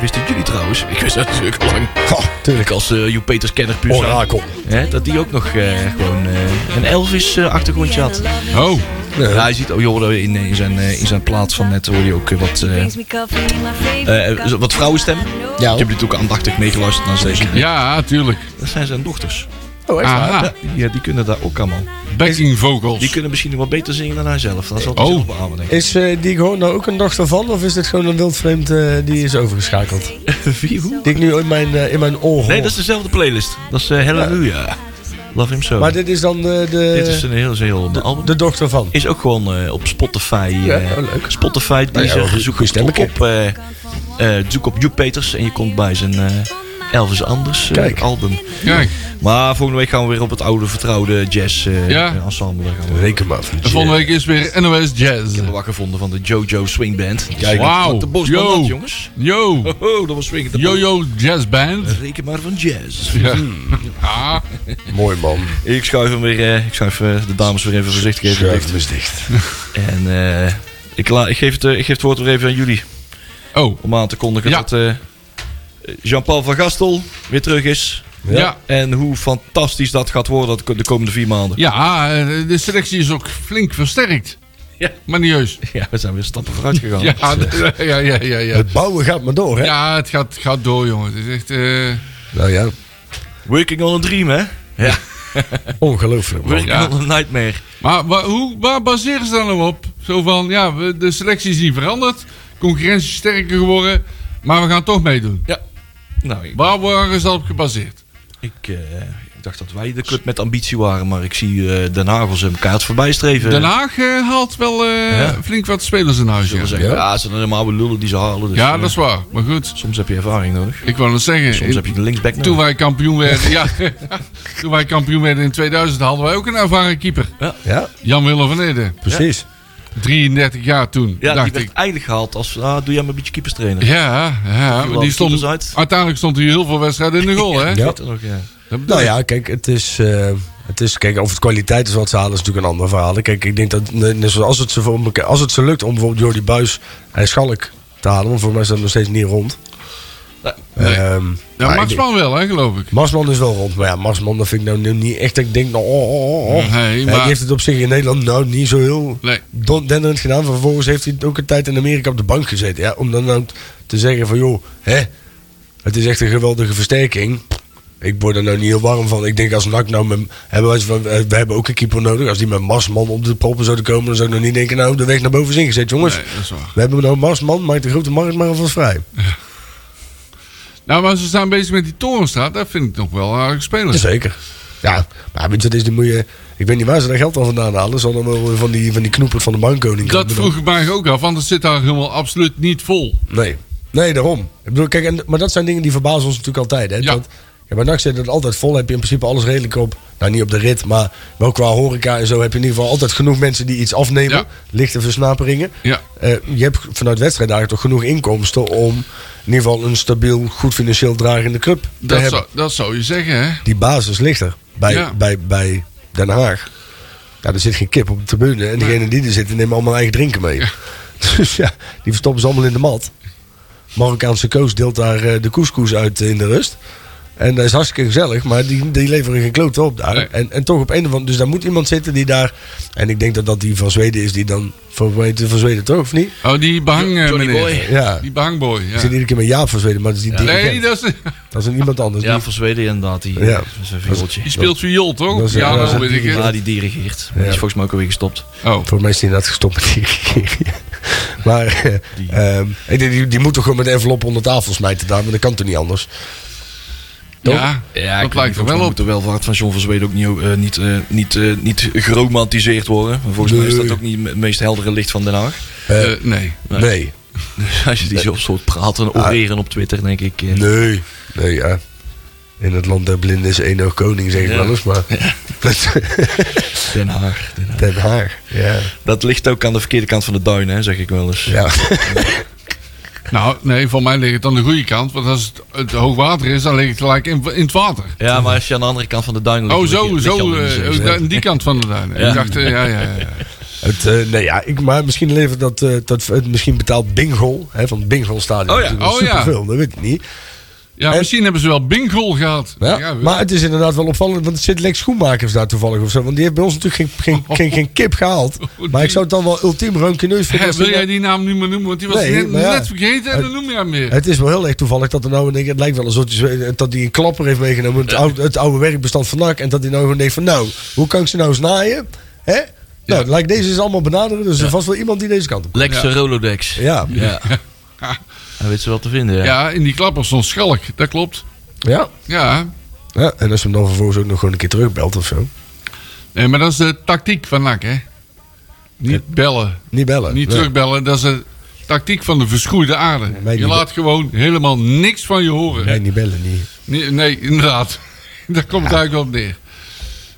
C: wisten jullie trouwens? Ik wist dat natuurlijk al lang.
E: Ha,
C: Ik
E: tuurlijk.
C: als eh Joep Peters kenner
E: Oh,
C: puur zijn,
E: Orakel.
C: hè, dat die ook nog eh, gewoon eh, een Elvis eh, achtergrondje had.
B: Oh,
C: Ja, je ziet, oh, je hoorde in, in, zijn, eh, in zijn plaat van net hoor je ook eh, wat, eh, eh,
F: Eh,
C: wat vrouwenstem.
E: Ja.
C: Ik heb natuurlijk ook aandachtig meegeluisterd naar deze.
B: ja, tuurlijk.
C: Dat zijn zijn dochters.
E: Oh, echt waar?
B: Aha,
C: Ja, die, eh, die kunnen daar ook allemaal.
B: backing
C: Die
B: vocals.
C: kunnen misschien nog wat beter zingen dan hij zelf. Dat zal hij
B: Oh.
C: zelf beamen,
E: <laughs>
C: denk ik.
E: Is eh, die gewoon nou ook een dochter van? Of is dit gewoon een wildvreemd eh, die is overgeschakeld?
C: Wie, hoe?
E: Die ik nu in mijn, eh, in mijn oor hoor.
C: Nee, dat is dezelfde playlist. Dat is eh, Hallelujah. Love Him So.
E: Maar dit is dan eh, de,
C: Dit is een heel, heel album.
E: de dochter van.
C: Is ook gewoon eh, op Spotify.
E: Ja,
C: eh,
E: oh, leuk.
C: Spotify, Deezer,
E: goed- goed
C: zoek het op,
E: stemmetje.
C: op, eh, eh, zoek op Joep Peters en je komt bij zijn eh, Elvis Anders eh,
E: Kijk.
C: album.
B: Kijk,
C: Maar volgende week gaan we weer op het oude vertrouwde jazz eh,
B: Ja.
C: ensemble. Daar gaan we
E: Reken maar van.
B: en volgende week is weer NOS Jazz.
C: Ik heb me wakker gevonden van de Jojo Swing Band. Kijk,
B: Wauw.
C: de Bosman
B: Yo.
C: had, jongens.
B: Yo,
C: Oh, oh, dat was swingend.
B: Yo-Yo Jazz Band.
C: Reken maar van jazz.
B: <laughs> Ja. Ah,
E: Mooi man.
C: Ik schuif hem weer, eh, ik schuif eh, de dames weer even voorzichtig even
E: Schuif
C: dicht.
E: hem eens dicht.
C: <laughs> En eh, ik, la, ik, geef het, eh, ik geef het woord weer even aan jullie.
B: oh,
C: Om aan te kondigen
B: Ja.
C: dat eh, Jean-Paul van Gastel weer terug is.
B: ja.
C: En hoe fantastisch dat gaat worden dat de komende vier
B: <laughs>
C: maanden.
B: Ja, eh, de selectie is ook flink versterkt.
C: Ja.
B: Manieus.
C: Ja, we zijn weer stappen vooruit gegaan.
B: Ja, d- ja, <laughs> ja, ja, ja.
E: Het bouwen gaat maar door, hè?
B: Ja, het gaat, gaat door, jongen. Het is echt... eh,
E: Nou ja,
C: <laughs> Working on a dream, hè? Ja.
E: ongelooflijk man.
C: Working
B: Ja.
C: on a nightmare.
B: Maar wa- hoe, waar baseren ze dan nou op? Zo van, ja, we- de selectie is niet veranderd. Concurrentie is sterker geworden. Maar we gaan toch meedoen.
C: Nou, ik,
B: Waar waren ze dat op gebaseerd?
C: ik, eh, ik dacht dat wij de club met ambitie waren, maar ik zie eh, Den Haag als een kaart voorbij streven.
B: Den Haag eh, haalt wel eh,
C: Ja.
B: flink wat spelers in huis.
C: Zullen we
B: Ja.
C: zeggen,
E: Ja.
C: ja. ze zijn helemaal oude lullen die ze halen. Dus,
B: ja,
C: eh,
B: dat is waar. Maar goed,
C: Soms heb je ervaring nodig.
B: ik wou het zeggen.
C: Soms
B: in-
C: heb je de linksback nodig.
B: toen wij kampioen werden, ja, <laughs> toen wij kampioen werden in 2000 hadden wij ook een ervaren keeper.
E: Ja,
B: Jan Willem van Ede.
E: precies.
B: 33 jaar toen,
C: ja, die
B: dacht
C: werd
B: ik.
C: eigenlijk gehaald als, ah, doe jij maar een beetje keeperstrainer.
B: Ja, ja
C: viel
B: maar
C: al
B: die
C: de
B: stond,
C: keepers uit.
B: uiteindelijk stond hij heel veel wedstrijden in de goal. Hè?
E: Ja.
C: Weet je nog, ja.
B: Dat bedoel
E: Nou
B: ik.
E: ja, kijk, het is, eh, het is... Kijk, of het kwaliteit is wat ze halen, is natuurlijk een ander verhaal. Kijk, ik denk dat net zoals als het ze, voor elkaar- als het ze lukt om bijvoorbeeld Jordi Buis en Schalk te halen... want voor mij is dat nog steeds niet rond.
C: Nee.
B: Nee.
E: Ehm,
B: Ja,
E: maar
B: Max
E: ik denk-
B: Span wel, hè, geloof ik.
E: Marsman is wel rond, maar ja, Marsman, dat vind ik nou nu niet echt. dat Ik denk, nou, oh, oh, oh.
B: Nee,
E: Hij
B: maar-
E: heeft het op zich in Nederland nou niet zo heel
B: Nee.
E: don- denderend gedaan. Vervolgens heeft hij het ook een tijd in Amerika op de bank gezeten. Ja, om dan nou te zeggen van, joh, hè, het is echt een geweldige versterking. Ik word er nou niet heel warm van. Ik denk als NAC nou... Met, hebben wij, van- eh, we hebben ook een keeper nodig. Als die met Marsman op de proppen zou komen... dan zou ik nog niet denken... nou, de weg naar boven is ingezet, jongens.
B: Nee, dat is waar.
E: We hebben nou Marsman, maakt de grote markt maar alvast vrij.
B: Nou, maar ze zijn bezig met die Torenstraat. Dat vind ik nog wel een aardig <laughs> spelen.
E: Zeker. Ja, maar weet je, dat is, die moet je, ik weet niet waar ze dat geld dan vandaan halen. Ze hadden wel van die, van die knoepert van de bankkoning.
B: Dat
E: kunnen
B: vroeg ik mij ook af, want het zit daar helemaal absoluut niet vol.
E: bedenken. Nee, nee daarom. Ik bedoel, kijk, en, maar dat zijn dingen die verbazen ons natuurlijk altijd. Hè?
B: Ja.
E: Dat, ja, bij NAC zit het altijd vol. Heb je in principe alles redelijk op. Nou, niet op de rit, maar wel qua horeca en zo heb je in ieder geval altijd genoeg mensen die iets afnemen.
B: Ja.
E: Lichte versnaperingen.
B: Ja.
E: Eh, je hebt vanuit wedstrijddagen toch genoeg inkomsten om in ieder geval een stabiel, goed financieel dragende club te
B: Dat
E: hebben.
B: zou, dat zou je zeggen, hè?
E: die basis ligt er bij,
B: Ja.
E: bij, bij Den Haag. Ja, er zit geen kip op de tribune. En degenen die er zitten nemen allemaal eigen drinken mee. <laughs> Dus ja, die verstoppen ze allemaal in de mat. Marokkaanse koos deelt daar eh, de couscous uit eh, in de rust. En dat is hartstikke gezellig, maar die, die leveren geen klote op daar.
B: Nee.
E: En, en toch op een of andere... Dus daar moet iemand zitten die daar... En ik denk dat dat die van Zweden is die dan... Voor, hoe heet die van Zweden toch, of niet?
B: Oh, die behang, eh,
C: Johnny
B: meneer.
C: Boy.
E: Ja.
B: Die behangboy, ja.
E: Ik zit iedere keer met Jaap van Zweden, maar dat is niet dirigent.
B: Nee, dat is,
E: Dat is een iemand anders.
C: Ja,
E: Ja,
C: van Zweden inderdaad. Die, eh,
E: Ja.
C: ja. Zijn viooltje.
B: die speelt viool, toch?
E: Dat is-
B: ja,
E: dat is-
B: dat weet ik
C: Ja,
B: het.
C: die dirigeert. Maar Die is
E: Ja.
C: volgens mij ook alweer gestopt.
B: Oh,
E: Voor mij is die inderdaad gestopt met die <laughs> Maar eh, ehm, ik denk, die, die moet toch gewoon met een envelop onder tafel smijten daar, maar dat kan toch niet anders? Toch?
B: ja, dat lijkt er wel op.
C: De welvaart van John van Zweden ook niet, eh, niet, eh, niet, eh, niet geromantiseerd worden. Maar Volgens mij is dat
E: Nee.
C: ook niet het meest heldere licht van Den Haag.
E: Eh,
B: Eh, nee.
C: nee.
E: nee. Nee.
C: <laughs> Als je die zo soort praten en oreren op Twitter, denk ik. eh,
E: Ah. Nee. ja. In het land der blinden is één oog koning, zeg ik
C: Ja.
E: wel eens, maar... <laughs>
C: Den Haag. Den Haag.
E: Den Haag. Ja.
C: Dat ligt ook aan de verkeerde kant van de duin, hè, zeg ik wel eens.
E: Ja.
B: Nou, nee, voor mij ligt het aan de goede kant. Want als het, het hoogwater is, dan ligt het gelijk in, in het water.
C: Ja, maar als je aan de andere kant van de duin ligt...
B: Oh,
C: lig je-
B: zo,
C: lig je al
B: zo.
C: in de zee.
B: eh, aan die kant van de duin.
C: Ja.
B: Ik dacht, eh, ja, ja, ja.
E: Het, eh, nee, ja, ik, maar misschien levert dat, eh, dat het misschien betaalt Bingol, hè, van het Bingol Stadion.
C: Oh ja,
E: Dat is
B: oh ja.
E: superveel, dat weet ik niet.
B: Ja,
E: En-
B: misschien hebben ze wel bingo gehad.
E: Ja,
B: we-
E: maar het is inderdaad wel opvallend, want het zit Lex Schoenmakers daar toevallig of zo. Want die heeft bij ons natuurlijk geen, geen,
B: Oh.
E: geen, geen kip gehaald. Maar ik zou het dan wel ultiem rankeneus
B: Hè,
E: vinden. als
B: Oh, wil
E: die-
B: jij die naam niet meer noemen? Want die was
E: Nee,
B: net,
E: maar ja.
B: net vergeten en dan noem je hem meer.
E: Het is wel heel erg toevallig dat er nou in één keer- Het lijkt wel alsof die Zweden- dat hij een klapper heeft meegenomen. Het oude, het oude werkbestand van NAC. En dat hij nou gewoon denkt van nou, hoe kan ik ze nou eens naaien? Hè? Nou, lijkt deze is allemaal benaderen. Dus er is vast wel iemand die deze kant op.
C: Lex
B: Ja.
C: de Rolodex.
E: Ja.
C: Ja. Hij weet ze wel te vinden,
B: <laughs>
C: ja.
B: Ja, in die klapper stond Schalk. Dat klopt.
E: ja.
B: Ja.
E: Ja, en als je hem dan vervolgens ook nog gewoon een keer terugbelt of zo.
B: Nee, maar dat is de tactiek van NAC, hè? Niet bellen.
E: Niet bellen.
B: Niet
E: Nee.
B: terugbellen. Dat is de tactiek van de verschroeide aarde.
E: wij
B: je
E: niet.
B: laat gewoon helemaal niks van je horen.
E: Nee, niet bellen. Niet.
B: Nee, nee, inderdaad. <laughs> Daar komt het eigenlijk wel op neer.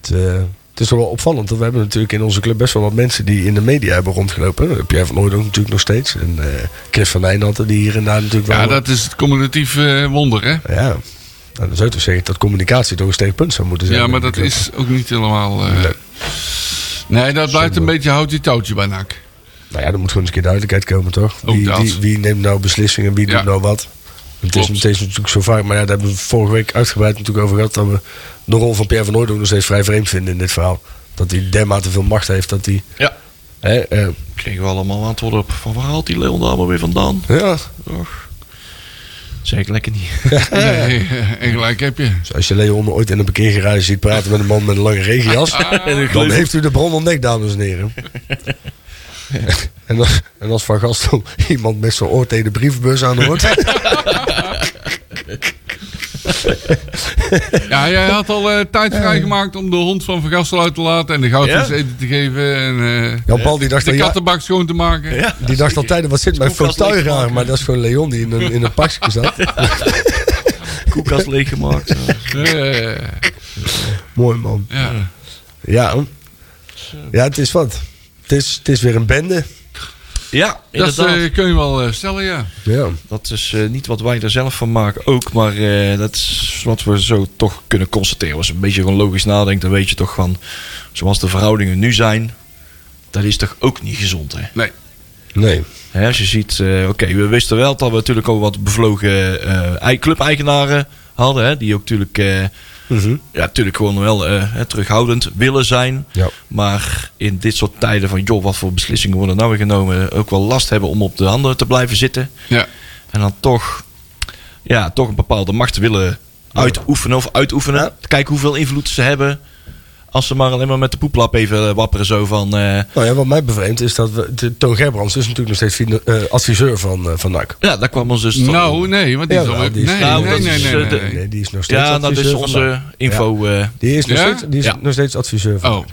E: Het, eh, het is toch wel opvallend. Want we hebben natuurlijk in onze club best wel wat mensen die in de media hebben rondgelopen. Dat heb jij van ooit ook natuurlijk nog steeds. En eh, Chris van Wijnanten die hier en daar natuurlijk wel...
B: Ja, dat is het combinatief eh, wonder, hè?
E: Ja. Nou, dan zou je toch zeggen dat communicatie toch een sterk punt zou moeten zijn.
B: Ja, maar
E: in de
B: dat
E: club.
B: is ook niet helemaal... eh,
E: Nee.
B: Nee, dat blijft een beetje houtje touwtje bij NAC.
E: Nou ja, er moet gewoon eens een keer duidelijkheid komen, toch?
B: Ook
E: Wie,
B: dat.
E: wie, wie neemt nou beslissingen, wie
B: Ja.
E: doet nou wat? Het is,
B: Klopt.
E: het is natuurlijk zo vaak, maar ja, daar hebben we vorige week uitgebreid natuurlijk over gehad... dat we de rol van Pierre van Hooydonk nog steeds vrij vreemd vinden in dit verhaal. Dat hij dermate veel macht heeft, dat hij...
C: Ja.
E: Hè, eh,
C: Kregen we allemaal antwoorden op van waar haalt die Leon daar maar weer vandaan?
E: ja,
C: Och. Zeg ik lekker niet.
B: Nee, <laughs> en gelijk heb je.
E: Dus als je Leon ooit in een parkeergarage ziet praten met een man met een lange regenjas... dan heeft u de bron ontdekt, dames en heren. en, als, en als Van Gastel iemand met zijn oor tegen de brievenbus aanhoort...
B: Ja, jij had al eh, tijd vrijgemaakt om de hond van Vergastel uit te laten en de goudvis
C: Ja?
B: eten te geven en eh,
E: Jan Paul die dacht...
B: de
E: al, ja,
B: kattenbak schoon te maken.
C: Ja.
E: Die dacht altijd, wat zit mijn
C: koelkast
E: fauteuil
C: leeg te
E: raar?
C: maken.
E: Maar dat is gewoon Leon die in een, in een pakje zat.
C: Koelkast leeggemaakt.
E: <laughs>
C: ja.
B: Eh,
E: Mooi man.
B: ja.
E: Ja, ja het is wat. Het is, het is weer een bende.
C: Ja,
B: Dat
C: inderdaad.
B: eh, kun je wel eh, stellen, ja.
E: Ja.
C: Dat is eh, niet wat wij er zelf van maken ook, maar eh, dat is wat we zo toch kunnen constateren. Als je een beetje gewoon logisch nadenkt, dan weet je toch van, zoals de verhoudingen nu zijn, dat is toch ook niet gezond, hè?
B: Nee.
E: Nee.
C: Hè, als je ziet, eh, oké, we wisten wel dat we natuurlijk ook wat bevlogen eh, ei- club-eigenaren hadden, hè, die ook natuurlijk, eh, ja, natuurlijk gewoon wel eh, hè, terughoudend willen zijn.
E: Ja.
C: Maar in dit soort tijden van, joh, wat voor beslissingen worden nou weer genomen, ook wel last hebben om op de handen te blijven zitten.
B: Ja.
C: En dan toch, ja, toch een bepaalde macht willen uitoefenen of uitoefenen. Kijk hoeveel invloed ze hebben. Als ze maar alleen maar met de poeplap even eh, wapperen zo van... eh,
E: Nou ja, wat mij bevreemdt is dat we... de- Toon Gerbrands is natuurlijk nog steeds fina- eh, adviseur van, eh, van NAC.
C: ja, daar kwam ons dus... toch-
B: Nou, nee, want die is
E: Jawel,
B: alweer...
E: die is-
B: Nee,
C: Nou,
B: nee,
C: dat
B: nee,
C: is,
B: nee,
C: eh,
B: nee,
C: de-
B: nee.
E: Nee, die is nog steeds
C: ja, dat
E: adviseur
C: is
E: van NAC.
C: onze info. eh,
E: Die is nog,
B: Ja?
E: steeds, die is
C: Ja.
E: nog steeds adviseur van
B: Oh,
E: NAC.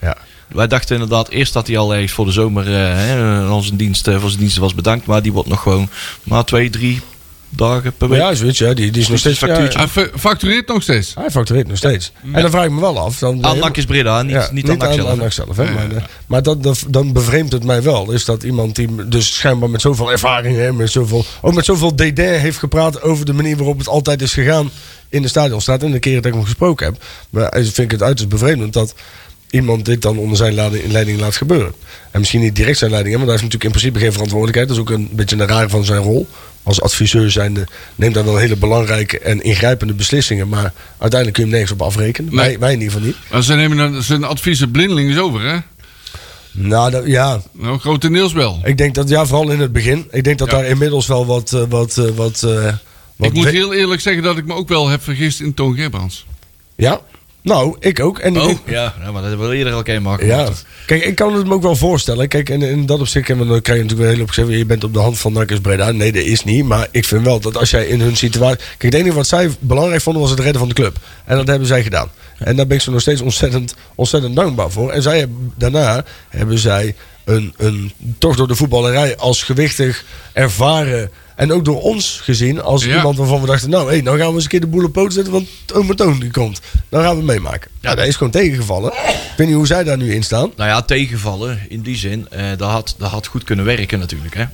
E: Ja.
C: wij dachten inderdaad eerst dat hij al eens voor de zomer eh, hè, aan onze dienst, eh, voor zijn diensten was bedankt. Maar die wordt nog gewoon maar twee, drie dagen per week.
E: Ja, zoiets. Ja, die, die is nog steeds...
C: Factuurtje.
E: Ja,
B: hij fa- factureert nog steeds.
E: hij factureert nog steeds. En dan vraag ik me wel af... Dan,
C: Aan NAC is Breda, niet,
E: Ja,
C: niet, aan NAC zelf.
E: aan NAC zelf, hè?
B: Ja,
E: maar
B: ja.
E: eh, maar dat, dat, dan bevreemdt het mij wel. Is dat iemand die dus schijnbaar met zoveel ervaring... Hè, met zoveel, ook met zoveel dédain heeft gepraat over de manier waarop het altijd is gegaan... in de stadion staat en de keren dat ik hem gesproken heb. Maar eh, vind ik het uiterst bevreemdend dat... iemand dit dan onder zijn leiding, leiding laat gebeuren. En misschien niet direct zijn leiding, hè, want hij heeft natuurlijk in principe geen verantwoordelijkheid. Dat is ook een beetje een rare van zijn rol. Als adviseur zijnde neemt hij wel hele belangrijke en ingrijpende beslissingen. Maar uiteindelijk kun je hem nergens op afrekenen.
B: Nee.
E: Wij, wij in ieder geval niet.
B: Maar Nou, ze nemen dan zijn adviezen blindelings over, hè?
E: Nou, dat, ja,
B: Nou, grotendeels wel.
E: Ik denk dat, ja, vooral in het begin. Ik denk dat
B: Ja.
E: daar inmiddels wel wat. eh, wat, eh, wat, eh, wat
B: Ik moet
E: we-
B: heel eerlijk zeggen dat ik me ook wel heb vergist in Toon Gerbrands.
E: Ja, nou, ik ook. En ik
B: Oh.
E: denk-
C: Oh, ja, ja, maar dat hebben we eerder al een keer maken.
E: ja. Kijk, ik kan het me ook wel voorstellen. Kijk, in, in dat opzicht hebben we- dan krijg je natuurlijk wel heel op gezegd. Je bent op de hand van Nakkers Breda. Nee, dat is niet. Maar ik vind wel dat als jij in hun situatie. Kijk, het enige wat zij belangrijk vonden was het redden van de club. En dat hebben zij gedaan. En daar ben ik ze nog steeds ontzettend, ontzettend dankbaar voor. En zij hebben- daarna hebben zij een, een toch door de voetballerij als gewichtig ervaren. En ook door ons gezien als
B: Ja.
E: iemand waarvan we dachten... nou, hé, nou gaan we eens een keer de boel op poot zetten... want Oom Toon die komt. Dan gaan we het meemaken. Ja, dat is gewoon tegengevallen. Ik weet niet hoe zij daar nu in staan.
C: Nou ja, tegenvallen in die zin. eh, dat, had, dat had goed kunnen werken natuurlijk, hè.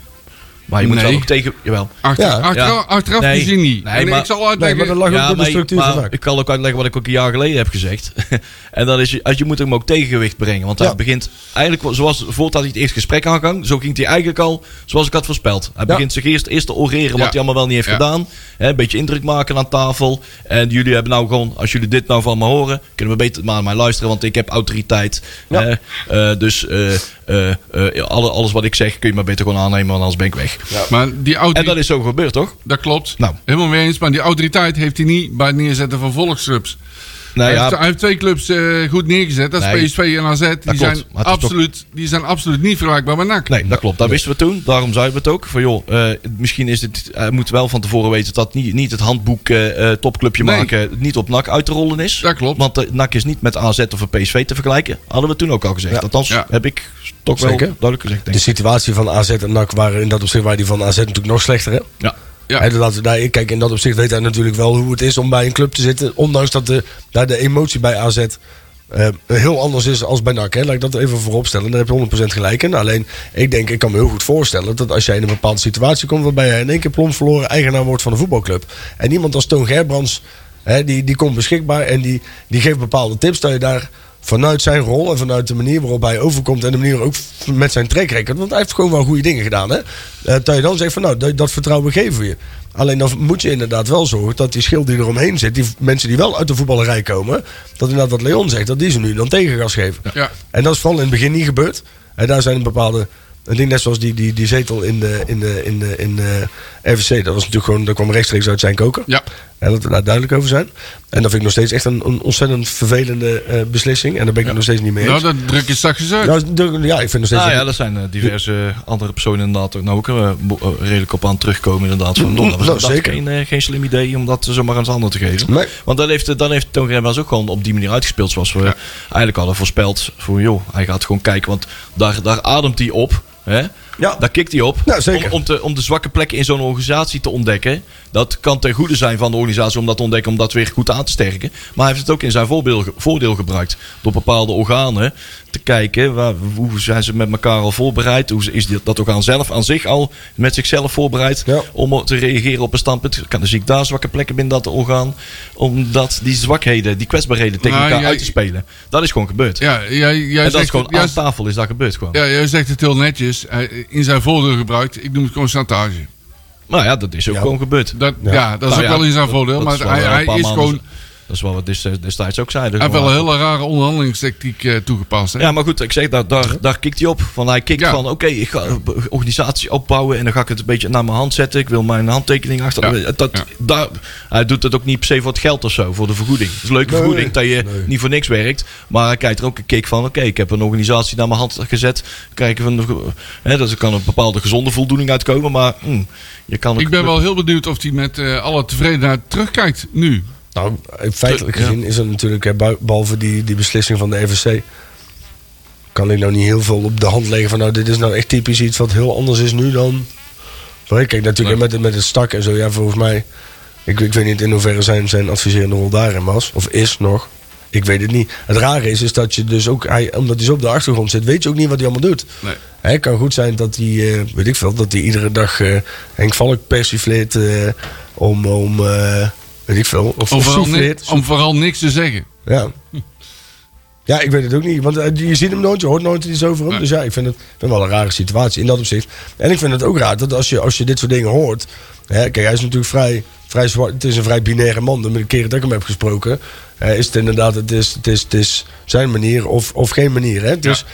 C: Maar je moet
B: Nee.
C: wel ook tegen... Jawel.
B: Achter,
E: Ja.
B: achteraf,
C: Ja.
B: achteraf
C: Nee.
B: gezien niet.
C: Nee,
B: en
C: maar-
B: ik zal
E: Nee,
B: uitleggen...
E: maar dat lag ook door de
C: maar-
E: structuur
C: maar
E: vandaag.
C: Ik kan ook uitleggen wat ik ook een jaar geleden heb gezegd. <laughs> en dat is, je- als je moet hem ook tegengewicht brengen. Want hij
E: Ja.
C: begint eigenlijk, wel- zoals voordat hij het eerste gesprek aangang, zo ging hij eigenlijk al zoals ik had voorspeld. Hij
E: Ja.
C: begint zich eerst, eerst te oreren wat
B: Ja.
C: hij allemaal wel niet heeft
B: Ja.
C: gedaan. Hè, een beetje indruk maken aan tafel. En jullie hebben nou gewoon, als jullie dit nou van me horen, kunnen we beter maar naar mij luisteren, want ik heb autoriteit.
E: Ja.
C: Hè? Eh, dus eh, eh, eh, alle, alles wat ik zeg kun je maar beter gewoon aannemen, want anders ben ik weg.
B: Maar die
C: En dat
B: autoriteit...
C: is zo gebeurd, toch?
B: Dat klopt.
C: Nou.
B: Helemaal mee eens. Maar die autoriteit heeft hij niet bij het neerzetten van volksclubs.
C: Nou
B: hij,
C: ja,
B: heeft, hij heeft twee clubs eh, goed neergezet. Dat is
C: Nee.
B: PSV en AZ. Die
C: klopt,
B: zijn,
C: maar het is
B: absoluut, die zijn absoluut niet vergelijkbaar met NAC.
C: Nee, dat klopt. Dat wisten we toen. Daarom zeiden we het ook. Van joh, eh, misschien is het, eh, moet wel van tevoren weten dat niet, niet het handboek eh, eh, topclubje
B: Nee.
C: maken niet op NAC uit te rollen is.
B: Dat klopt.
C: Want eh, NAC is niet met AZ of een PSV te vergelijken. Hadden we toen ook al gezegd.
E: Ja.
C: Althans,
B: Ja.
C: heb ik toch wel
E: Zeker. Dus
C: duidelijk gezegd. Denk
E: De
C: ik.
E: situatie van AZ en NAC waren in dat opzicht... waren die van AZ natuurlijk nog slechter, hè?
C: Ja.
B: Ja.
E: Hè, laten we daar, kijk, in dat opzicht weet hij natuurlijk wel hoe het is om bij een club te zitten. Ondanks dat de, daar de emotie bij AZ eh, heel anders is als bij NAC. Hè. Laat ik dat even vooropstellen. Daar heb je 100% gelijk in. Alleen, ik denk, ik kan me heel goed voorstellen dat als jij in een bepaalde situatie komt... waarbij je in één keer plomp verloren eigenaar wordt van een voetbalclub. En iemand als Toon Gerbrands, hè, die, die komt beschikbaar en die, die geeft bepaalde tips... dat je daar vanuit zijn rol en vanuit de manier waarop hij overkomt... en de manier ook met zijn track record... want hij heeft gewoon wel goede dingen gedaan. Hè? Eh, dat je dan zegt van, nou, dat, dat vertrouwen geven we je. Alleen dan moet je inderdaad wel zorgen dat die schil die eromheen zit, die v- mensen die wel uit de voetballerij komen, dat inderdaad wat Leon zegt, dat die ze nu dan tegengas geven.
B: Ja.
E: En dat is vooral in het begin niet gebeurd. En daar zijn bepaalde een ding net zoals die, die, die zetel in de, in de, in de, in de eh, RVC. Dat was natuurlijk gewoon, dat kwam rechtstreeks uit zijn koker.
B: Ja.
E: En dat we daar duidelijk over zijn. En dat vind ik nog steeds echt een, een ontzettend vervelende eh, beslissing. En daar ben ik het nog steeds niet mee
B: Nou,
E: eens.
B: dat druk je straks eens uit.
E: Nou, de- ja, ik vind nog steeds.
C: Nou ja, dat zijn eh, diverse andere personen inderdaad ook nou ook eh, bo- eh, redelijk op aan terugkomen inderdaad. Van, "Nou, dat was
E: Nou,
C: inderdaad
E: zeker.
C: Geen, eh, geen slim idee om dat zomaar aan het ander te geven.
E: Nee.
C: Want dan heeft, eh, dan heeft Toon Remmers ook gewoon op die manier uitgespeeld zoals we eigenlijk hadden voorspeld. Voor joh, hij gaat gewoon kijken, want daar, daar ademt hij op. Hè?
E: Ja.
C: Daar kikt hij op.
E: Ja, zeker.
C: Om, om, te, om de zwakke plekken in zo'n organisatie te ontdekken. Dat kan ten goede zijn van de organisatie om dat te ontdekken, om dat weer goed aan te sterken. Maar hij heeft het ook in zijn voorbeeld, voordeel gebruikt. Door bepaalde organen te kijken waar, hoe zijn ze met elkaar al voorbereid. Hoe is dit- dat orgaan zelf aan zich al met zichzelf voorbereid
E: Ja.
C: om te reageren op een standpunt. Kan, dan zie ik daar zwakke plekken binnen dat orgaan. Omdat die zwakheden, die kwetsbaarheden tegen
B: Nou,
C: elkaar
B: jij-
C: uit te spelen. Dat is gewoon gebeurd.
B: Ja, jij, jij
C: en dat
B: zegt
C: is gewoon
B: jij-
C: aan tafel is dat gebeurd gewoon.
B: ja, jij zegt het heel netjes. Hij- In zijn voordeel gebruikt. Ik noem het gewoon chantage.
C: Nou ja, dat is ook
E: Ja.
C: gewoon gebeurd.
B: Dat, ja. dat is
C: Nou
B: ook
C: ja,
B: wel in zijn
C: dat-
B: voordeel.
C: dat
B: Maar
C: wel
B: hij,
C: een
B: hij
C: paar
B: is
C: maanden
B: gewoon,
C: zo- Dat is wel wat des- destijds ook zeiden.
B: hij heeft wel
C: Gewoon-
B: een hele rare onderhandelingstechniek eh, toegepast. Hè?
C: Ja, maar goed, ik zeg, daar, daar, daar kikt hij op. Van, hij kikt
B: Ja.
C: van, oké, ik ga een b- organisatie opbouwen en dan ga ik het een beetje naar mijn hand zetten. Ik wil mijn handtekening achter.
B: Ja.
C: Dat,
B: Ja.
C: daar, hij doet het ook niet per se voor het geld of zo, voor de vergoeding. Het is een leuke
E: Nee.
C: vergoeding dat je
E: Nee.
C: niet voor niks werkt. Maar hij kijkt er ook een kick van, oké, ik heb een organisatie naar mijn hand gezet. Kijken van, hè, dat er kan een bepaalde gezonde voldoening uitkomen, maar hm, je kan ook...
B: Ik ben wel heel benieuwd of hij met eh, alle tevredenheid terugkijkt nu.
E: Nou, feitelijk
C: Ja.
E: gezien is er natuurlijk, eh, bui- behalve die, die beslissing van de RVC, kan ik nou niet heel veel op de hand leggen van nou, dit is nou echt typisch iets wat heel anders is nu dan. Maar Kijk, natuurlijk met, het- met het stak en zo, ja, volgens mij, ik, ik weet niet in hoeverre zijn, zijn adviserende rol daarin was, of is nog. Ik weet het niet. Het rare is, is dat je dus ook, hij, omdat hij zo op de achtergrond zit, weet je ook niet wat hij allemaal doet.
B: Nee.
E: Het kan goed zijn dat hij, eh, weet ik veel, dat hij iedere dag eh, Henk Valk persifleert eh, om, om eh, weet ik veel, of,
B: Om
E: of
B: vooral, ni-
E: souffleert.
B: om vooral niks te zeggen.
E: Ja. Ja, ik weet het ook niet. Want eh, je ziet hem nooit, je hoort nooit iets over hem.
B: Nee.
E: Dus ja, ik vind het ik vind het wel een rare situatie in dat opzicht. En ik vind het ook raar dat als je, als je dit soort dingen hoort. Hè, kijk, hij is natuurlijk vrij, vrij zwart. Het is een vrij binaire man. De keer dat ik hem heb gesproken, eh, is het inderdaad, het is, het is, het is zijn manier of, of geen manier. Hè? Dus,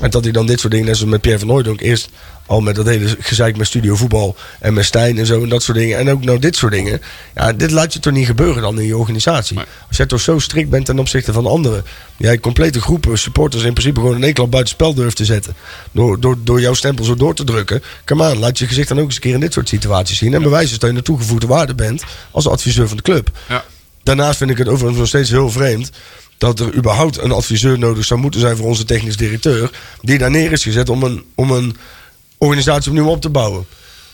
E: En dat hij dan dit soort dingen, net zoals met Pierre van Hooydonk, eerst al met dat hele gezeik met studio voetbal en met Stijn en zo en dat soort dingen. En ook nou dit soort dingen. Ja, dit laat je toch niet gebeuren dan in je organisatie.
B: Nee.
E: Als jij toch zo strikt bent ten opzichte van anderen. Jij complete groepen supporters in principe gewoon in één klap buiten spel durft te zetten. Door, door, door jouw stempel zo door te drukken. Come aan, laat je gezicht dan ook eens een keer in dit soort situaties zien. En bewijs eens dat je een toegevoegde waarde bent als adviseur van de club.
B: Ja.
E: Daarnaast vind ik het overigens nog steeds heel vreemd dat er überhaupt een adviseur nodig zou moeten zijn voor onze technisch directeur. Die daar neer is gezet om een, om een organisatie opnieuw op te bouwen.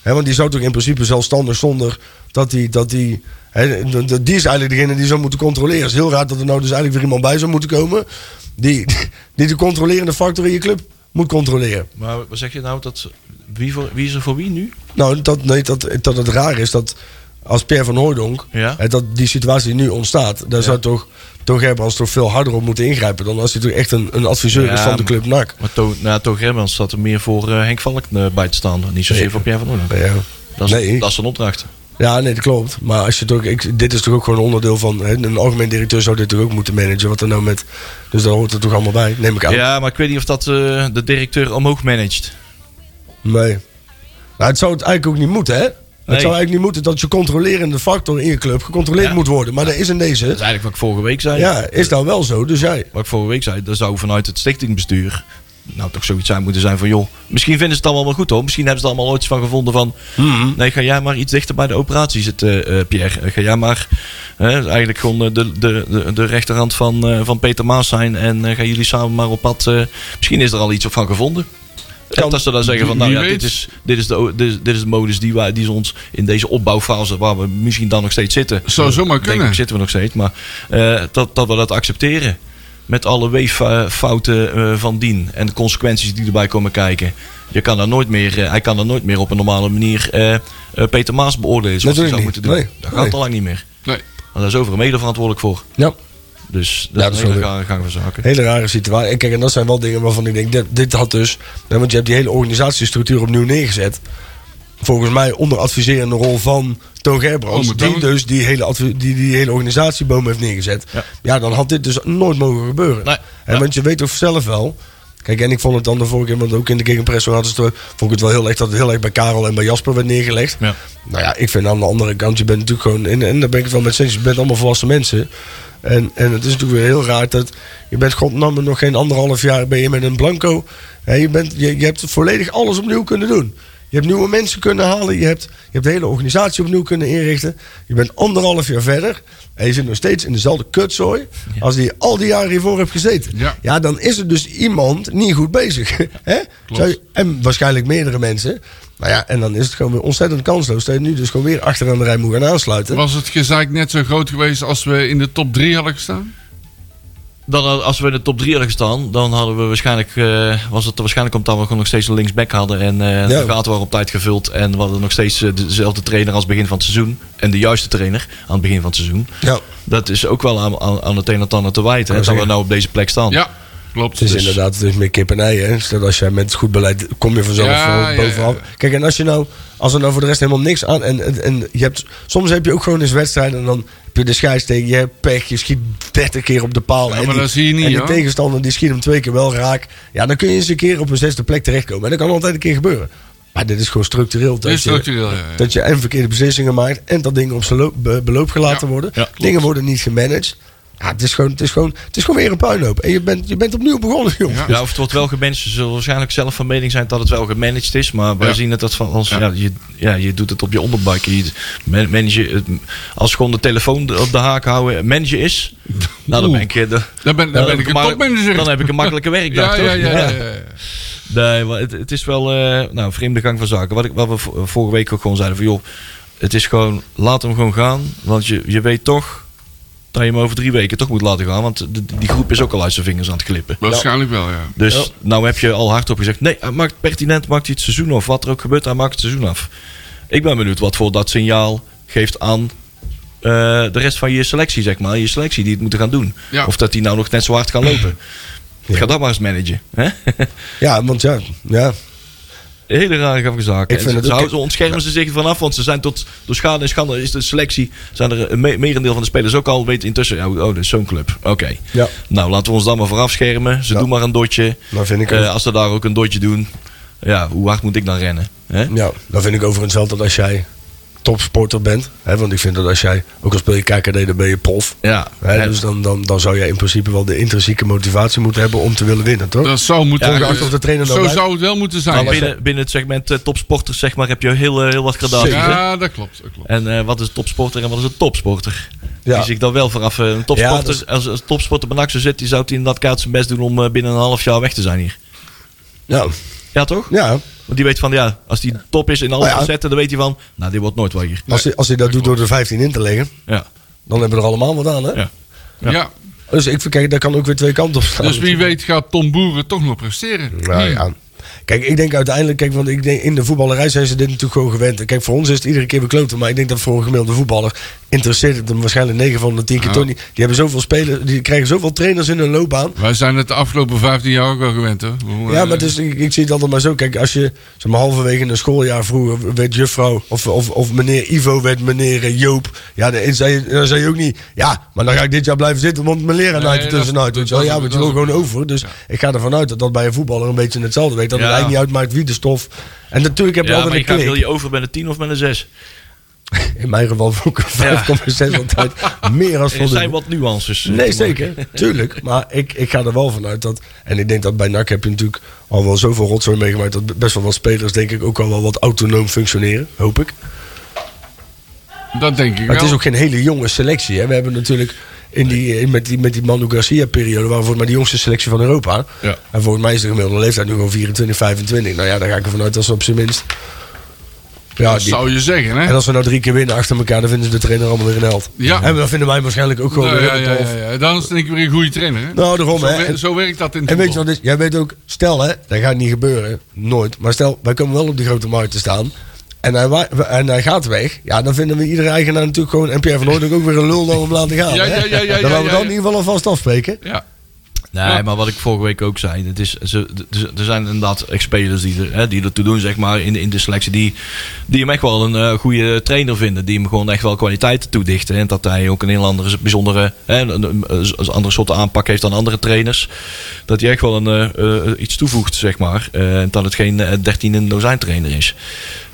E: Hè, want die zou toch in principe zelfstandig zonder dat die. Dat die hè, d- d- die is eigenlijk degene die zou moeten controleren. Het is heel raar dat er nou dus eigenlijk weer iemand bij zou moeten komen. Die, die de controlerende factor in je club moet controleren.
C: Maar wat zeg je nou? Dat, wie, voor, wie is er voor wie nu?
E: Nou, dat, nee, dat, dat het raar is dat als Pierre van Hooydonk,
C: Ja.
E: hè, dat die situatie die nu ontstaat, daar zou toch, toch Gerbrands toch veel harder op moeten ingrijpen dan als hij toch echt een, een adviseur
C: Ja,
E: is van de
C: maar-
E: club NAC.
C: Maar to, na Toon Gerbrand staat er meer voor eh, Henk Valk eh, bij te staan. Niet zozeer voor Pierre van Oorlog.
E: Ja.
C: Dat, is-
E: Nee.
C: dat is een opdracht.
E: ja, nee, dat klopt. Maar als je toch, ik, dit is toch ook gewoon een onderdeel van, hè, een algemeen directeur zou dit toch ook moeten managen, wat er nou met, dus daar hoort het toch allemaal bij, neem ik aan.
C: Ja, maar ik weet niet of dat eh, de directeur omhoog managt.
E: Nee. Nou, het zou het eigenlijk ook niet moeten, hè?
C: Nee.
E: Het zou eigenlijk niet moeten dat je controlerende factor in je club gecontroleerd
C: Ja.
E: moet worden. Maar dat is in
C: Dat
E: deze.
C: is eigenlijk wat ik vorige week zei.
E: Ja, is nou wel zo. Dus jij.
C: Wat ik vorige week zei, dat zou vanuit het stichtingbestuur nou toch zoiets zijn moeten zijn van joh, misschien vinden ze het allemaal wel goed hoor. Misschien hebben ze er allemaal ooit iets van gevonden van
B: Mhm.
C: nee, ga jij maar iets dichter bij de operatie zitten, eh, Pierre. Eh, Ga jij maar eh, eigenlijk gewoon eh, de, de, de, de rechterhand van, eh, van Peter Maas zijn en eh, gaan jullie samen maar op pad. eh, misschien is er al iets van gevonden. En dat ze dan zeggen van nou
B: Wie
C: ja,
B: weet.
C: dit is, dit is, de, o- dit, is, dit is de modus die, wij, die ze ons in deze opbouwfase waar we misschien dan nog steeds zitten.
B: Zou zomaar
C: Denk ik
B: kunnen.
C: zitten we nog steeds. Maar eh, dat, dat we dat accepteren. Met alle weeffouten eh, van dien. En de consequenties die erbij komen kijken. Je kan daar nooit meer, eh, hij kan daar nooit meer op een normale manier eh, eh, Peter Maas beoordelen. Zoals
E: Natuurlijk
C: hij zou
E: niet.
C: moeten doen. Dat
E: Nee.
C: gaat
E: Nee.
C: al lang niet meer.
B: Nee.
C: Want daar is overal mede verantwoordelijk voor.
E: Ja.
C: Dus dat
E: Ja,
C: is
E: dat
C: een
E: is
C: hele
E: wel
C: rare gang van zaken.
E: Hele rare situatie. En kijk, en dat zijn wel dingen waarvan ik denk, dit, dit had dus... hè, Want je hebt die hele organisatiestructuur opnieuw neergezet. Volgens mij onder adviserende rol van Toon
B: Oh,
E: Gerbrands.
B: maar
E: die
B: dan-
E: dus die hele, advi- die, die hele organisatieboom heeft neergezet. Ja.
C: Ja.
E: dan had dit dus nooit mogen gebeuren.
C: Nee,
E: Hè,
C: ja.
E: Want je weet toch zelf wel... Kijk, en ik vond het dan de vorige keer, want ook in de Gegenpresso hadden ze het, vond ik het wel heel erg dat het heel erg bij Karel en bij Jasper werd neergelegd.
C: Ja.
E: Nou ja, ik vind aan de andere kant, je bent natuurlijk gewoon, en, en daar ben ik het wel met eens, je bent allemaal volwassen mensen. En, en het is natuurlijk weer heel raar dat je bent godnamme nog geen anderhalf jaar ben je met een blanco. Hè, je, bent, je, je hebt volledig alles opnieuw kunnen doen. Je hebt nieuwe mensen kunnen halen, je hebt, je hebt de hele organisatie opnieuw kunnen inrichten. Je bent anderhalf jaar verder en je zit nog steeds in dezelfde kutzooi als die je al die jaren hiervoor hebt gezeten.
B: Ja.
E: Ja, dan is er dus iemand niet goed bezig. <laughs> Hè? Zou je- en waarschijnlijk meerdere mensen. Nou ja, en dan is het gewoon weer ontzettend kansloos dat je nu dus gewoon weer achteraan de rij moet gaan aansluiten.
B: Was het gezeik net zo groot geweest als we in de top 3 hadden gestaan?
C: Dan, eh, als we in de top 3 hadden gestaan, dan hadden we waarschijnlijk, eh, was het er waarschijnlijk omdat we gewoon nog steeds een linksback hadden. En eh
E: Ja.
C: de gaten waren op tijd gevuld. En we hadden nog steeds eh, dezelfde trainer als begin van het seizoen. En de juiste trainer aan het begin van het seizoen.
E: Ja,
C: Dat is ook wel aan, aan, aan het een en het ander te wijten.
E: Kan
C: Hè,
E: ik
C: dat we
E: zeggen.
C: nou op deze plek staan.
B: Ja, klopt.
E: het is
B: Dus-
E: inderdaad dus meer kip en ei. Hè? Stel als jij met goed beleid kom je vanzelf
B: Ja,
E: eh,
B: ja,
E: bovenaf.
B: ja.
E: Kijk, en als je nou, als er nou voor de rest helemaal niks aan. En, en, en je hebt, soms heb je ook gewoon eens wedstrijden en dan heb je de scheidsteek, je hebt pech, je schiet 30 keer op de paal.
B: Ja,
E: en
B: maar
E: die,
B: dat zie je niet,
E: En die
B: hoor.
E: tegenstander die schiet hem twee keer wel raak. Ja, dan kun je eens een keer op een zesde plek terechtkomen. En dat kan altijd een keer gebeuren. Maar dit is gewoon structureel. dat
B: Dit is
E: je-
B: structureel, ja, ja.
E: Dat je en verkeerde beslissingen maakt en dat dingen op zijn loop- be- beloop gelaten
B: Ja,
E: worden.
C: ja, klopt.
E: dingen worden niet gemanaged. Ja, het, is gewoon, het, is gewoon, het is gewoon weer een puinhoop. En je bent, je bent opnieuw begonnen, joh.
B: Ja.
C: Ja, of het wordt wel gemanaged. Ze zullen waarschijnlijk zelf van mening zijn dat het wel gemanaged is. Maar wij
B: Ja.
C: zien het dat van als,
B: Ja.
C: ja. je, ja, je doet het op je onderbuik. Je, man- manage, het- als gewoon de telefoon de- op de haak houden manager is. Nou, dan ben ik, eh, de-
B: Dan ben, dan ben ik een
C: ma-
B: topmanager.
C: Dan heb ik een makkelijke werkdag,
B: ja,
C: toch?
B: ja, ja, ja, ja.
C: Nee, maar het, het is wel eh, nou, een vreemde gang van zaken. Wat, ik, wat we v- eh, vorige week ook gewoon zeiden van... joh, het is gewoon, laat hem gewoon gaan. Want je, je weet toch dat je hem over drie weken toch moet laten gaan. Want de- die groep is ook al uit zijn vingers aan het glippen.
B: Waarschijnlijk wel, ja.
C: Dus nou heb je al hardop gezegd... nee, hij maakt pertinent, maakt hij het seizoen af. Wat er ook gebeurt, hij maakt het seizoen af. Ik ben benieuwd wat voor dat signaal geeft aan... eh, de rest van je selectie, zeg maar. Je selectie die het moeten gaan doen.
B: Ja.
C: Of dat die nou nog net zo hard gaan lopen. Ga dat maar eens managen. Hè? <laughs>
E: Ja, want ja, ja.
C: Hele rare gaffe zaak.
E: Ik
C: En
E: vind
C: ze,
E: het
C: ze
E: ook-
C: houden- ontschermen ze zich vanaf, want ze zijn tot door schade en schande is de selectie. Zijn er een me- merendeel van de spelers ook al weet intussen. ja, Oh, dat is zo'n club. Oké.
E: Ja.
C: Nou, laten we ons dan maar vooraf schermen. Ze
E: Ja.
C: doen maar een dotje.
E: Dat vind ik
C: Eh,
E: ook.
C: als ze daar ook een dotje doen, ja, hoe hard moet ik dan rennen? Hè?
E: Ja, dat vind ik overigens wel dat als jij topsporter bent. Hè, want ik vind dat als jij, ook al speel je KKD, dan ben je prof.
C: Ja.
E: Hè, dus dan, dan, dan zou jij in principe wel de intrinsieke motivatie moeten hebben om te willen winnen, toch?
B: Dat zou moeten.
E: Ja, ongeacht of de trainer nou
B: zo
E: blijft. Nou,
B: zou het wel moeten
C: Eh, Maar
B: zijn.
C: binnen, binnen het segment eh, topsporters zeg maar, heb je heel, eh, heel wat gedaan.
B: ja, dat klopt. Dat klopt.
C: En eh, wat is een topsporter en wat is een topsporter?
E: Ja.
C: Die zich dan wel vanaf eh, een topsporter.
E: Ja, dus- dat is-
C: als, als een topsporter bij NAC zou zitten, die zou het in dat kaart zijn best doen om eh, binnen een half jaar weg te zijn hier.
E: Ja,
C: Ja, toch?
E: ja.
C: Want die weet van ja, als die top is in alle
E: Oh ja.
C: facetten, dan weet hij van, nou, dit wordt nooit wat hier.
E: Als hij, als hij dat doet door de 15 in te leggen,
C: Ja.
E: dan hebben we er allemaal wat aan, hè?
C: Ja.
B: Ja.
E: Dus ik vind, kijk, daar kan ook weer twee kanten op staan.
B: Dus wie weet gaat Tom Boeren toch nog presteren.
E: Nou
B: Hm.
E: ja. Kijk, ik denk uiteindelijk, kijk, want ik denk, in de voetballerij zijn ze dit natuurlijk gewoon gewend. En Kijk, voor ons is het iedere keer weer kloten, maar ik denk dat voor een gemiddelde voetballer interesseert het hem waarschijnlijk 9 van de 10 keer
B: Ja.
E: Tony. Die hebben zoveel spelers, die krijgen zoveel trainers in hun loopbaan.
B: Wij zijn het de afgelopen 15 jaar ook al gewend, eh, hè?
E: Ja, maar dus, ik, ik zie het altijd maar zo. Kijk, als je zeg maar, halverwege een schooljaar vroeger werd juffrouw of, of, of meneer Ivo werd meneer eh, Joop. Ja, dan zei, je- dan zei je ook niet, ja, maar dan ga ik dit jaar blijven zitten, want mijn leraar
B: Nee,
E: naait er
B: dat-
E: tussenuit.
B: dat-
E: weet je wel.
B: dat-
E: Ja,
B: dat-
E: want je
B: dat-
E: wil gewoon over. Dus ik ga ervan uit dat dat bij een voetballer een beetje hetzelfde weet. Dat
C: Ja.
E: het eigenlijk niet uitmaakt wie de stof. En natuurlijk heb je
C: Ja, maar je
E: altijd
C: gaat,
E: een
C: wil
E: klik.
C: je over met een 10 of met een 6?
E: In mijn geval vond ik een 5,6
C: <laughs>
E: altijd meer als
C: Er zijn
E: voldoende.
C: wat nuances. eh,
E: Nee,
C: te maken.
E: zeker. Tuurlijk. Maar ik, ik ga er wel vanuit dat. En ik denk dat bij NAC heb je natuurlijk al wel zoveel rotzooi meegemaakt. Dat best wel wat spelers, denk ik, ook al wel wat autonoom functioneren. Hoop ik.
B: Dat denk ik
E: Maar
B: wel.
E: het is ook geen hele jonge selectie. Hè? We hebben natuurlijk. In die, in- met, die, met die Manu Garcia-periode waren volgens mij de jongste selectie van Europa.
B: Ja.
E: En volgens mij is de gemiddelde leeftijd nu gewoon 24, 25. Nou ja, daar ga ik ervan uit dat ze op zijn minst. Ja,
B: dat
E: die-
B: zou je zeggen, hè?
E: en als we nou drie keer winnen achter elkaar, dan vinden ze de trainer allemaal weer een held.
B: Ja.
E: En dat vinden wij waarschijnlijk ook gewoon
B: Nou,
E: weer
B: ja,
E: een
B: ja,
E: tof.
B: ja, ja. Dan is het denk ik weer een goede trainer, hè?
E: Nou, daarom,
B: zo,
E: hè.
B: wer-
E: En-
B: zo werkt dat in het
E: En weet je
B: voetbal.
E: wat, het is? jij weet ook, stel hè, dat gaat niet gebeuren, nooit. Maar stel, wij komen wel op de grote markt te staan. En hij, wa- en hij gaat weg. Ja, dan vinden we iedere eigenaar natuurlijk gewoon. En Pierre van Hooydonk ook weer een lul dan om laten gaan.
B: Ja,
E: hè?
B: ja, ja, ja,
E: dan
B: ja,
E: we
B: ja,
E: dan
B: ja.
E: in ieder geval alvast afspreken.
B: Ja.
C: Nee,
B: Ja.
C: maar wat ik vorige week ook zei. Het is, ze, ze- er zijn inderdaad ex-spelers die, er, hè, die er toe doen, zeg maar, in, de- in de selectie. Die, die hem echt wel een eh, goede trainer vinden. Die hem gewoon echt wel kwaliteit toedichten. En dat hij ook een heel andere, bijzondere, hè, een, een- een andere soort aanpak heeft dan andere trainers. Dat hij echt wel een, eh, eh, iets toevoegt, zeg maar. Eh, en dat het geen eh, 13 en dozijn trainer is.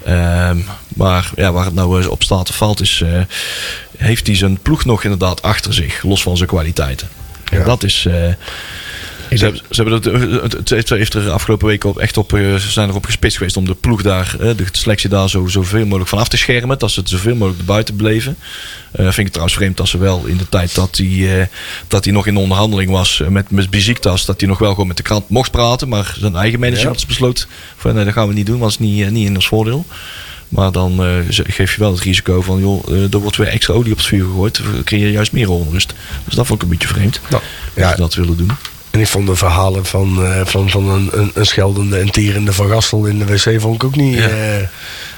C: Ehm, maar ja, waar het nou eens op staat of valt is... eh, heeft hij zijn ploeg nog inderdaad achter zich, los van zijn kwaliteiten. En
E: Ja.
C: dat is... eh, ze hebben, ze hebben dat, eh, het, het heeft- heeft er afgelopen week op, echt op, eh, ze zijn erop gespitst geweest om de ploeg daar, eh, de selectie daar zo, zoveel mogelijk van af te schermen. Dat ze het zoveel mogelijk buiten bleven. Eh, vind ik trouwens vreemd dat ze wel in de tijd dat hij eh, dat hij nog in onderhandeling was eh, met, met Besiktas, dat hij nog wel gewoon met de krant mocht praten. Maar zijn eigen manager had besloot, van, nee dat gaan we niet doen, want het is niet, eh, niet in ons voordeel. Maar dan eh, ze- geef je wel het risico van, joh, eh, er wordt weer extra olie op het vuur gegooid. Dan creëer je juist meer onrust. Dus dat vond ik een beetje vreemd.
E: Nou,
C: Dat
E: ja.
C: ze dat willen doen.
E: En ik vond de verhalen van, eh, van, van een, een, een scheldende en tierende Van Gastel in de wc vond ik ook niet...
C: Ja.
E: eh,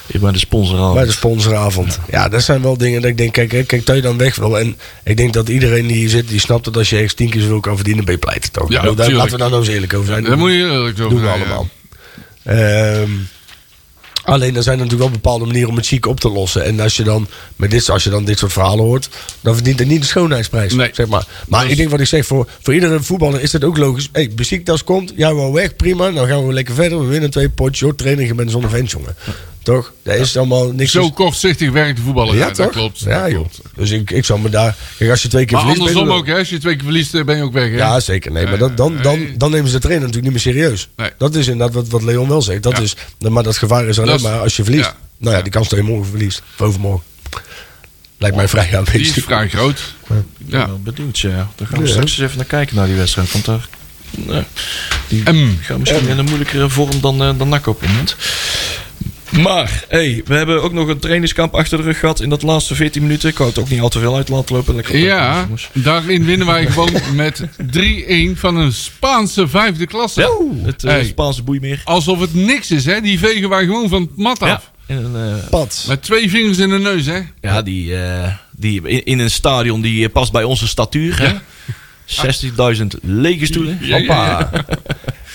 C: Ik ben de sponsor al.
E: Bij de sponsoravond. Ja, dat zijn wel dingen dat ik denk, kijk, hè, kijk dat je dan weg wil. En ik denk dat iedereen die hier zit, die snapt dat als je ergens tien keer zoveel kan verdienen, ben je pleit toch?
B: Ja,
E: Nou, daar,
B: tuurlijk.
E: laten we daar nou eens eerlijk over zijn.
B: Daar moet je eerlijk over
E: doen we
B: zijn, ja.
E: allemaal. Ehm, alleen, er zijn natuurlijk wel bepaalde manieren om het ziek op te lossen. En als je dan, met dit, als je dan dit soort verhalen hoort, dan verdient het niet de schoonheidsprijs.
B: Nee.
E: Zeg maar. maar
B: Dus-
E: ik denk wat ik zeg, voor, voor iedere voetballer is dat ook logisch. Hé, hey, Besiktas komt, jij wou weg, prima. Dan gaan we lekker verder. We winnen twee potjes. Joh, training, je bent zonder vent, jongen. Toch? Dat is allemaal niks.
B: Zo kortzichtig werkt de voetballer. Ja, dat klopt.
E: Ja,
B: Dat
E: joh.
B: klopt.
E: Dus ik, ik zou me daar... Kijk, als je twee keer
B: Maar
E: verliest... ben je
B: andersom
E: er-
B: ook, hè? Als je twee keer verliest, eh, ben je ook weg, hè?
E: Ja, zeker. Nee, maar dan, dan, dan, dan nemen ze de trainer natuurlijk niet meer serieus.
B: Nee.
E: Dat is inderdaad wat, wat Leon wel zegt. Dat
B: Ja.
E: is, maar dat gevaar is alleen
B: Dat is-
E: maar als je verliest.
B: ja.
E: Nou ja,
B: Ja.
E: die kans dat je morgen verliest. Of overmorgen. Lijkt mij vrij aanwezig.
B: Oh, Die is vrij groot.
C: Ja.
B: Ja.
C: Wel benieuwd, ja. Daar gaan we
E: Ja.
C: straks eens even naar kijken naar die wedstrijd. Want daar nou, die
B: Mm.
C: gaan misschien in een moeilijkere vorm dan, eh, dan NAC op het moment. Maar, hey, we hebben ook nog een trainingskamp achter de rug gehad in dat laatste 14 minuten. Ik wou het ook niet al te veel uit laten lopen. Lekker op de
B: Ja,
C: jongens.
B: daarin winnen wij gewoon met 3-1 van een Spaanse vijfde klasse.
C: Ja, het eh,
B: Hey.
C: Spaanse boeimeer.
B: Alsof het niks is, hè? Die vegen wij gewoon van het mat af.
C: Ja, en, eh,
E: Pad.
B: Met twee vingers in de neus, hè?
C: ja die, eh, Die, in, in een stadion die eh, past bij onze statuur. hè. 60.000 lege stoelen.
B: Ja, ja, ja.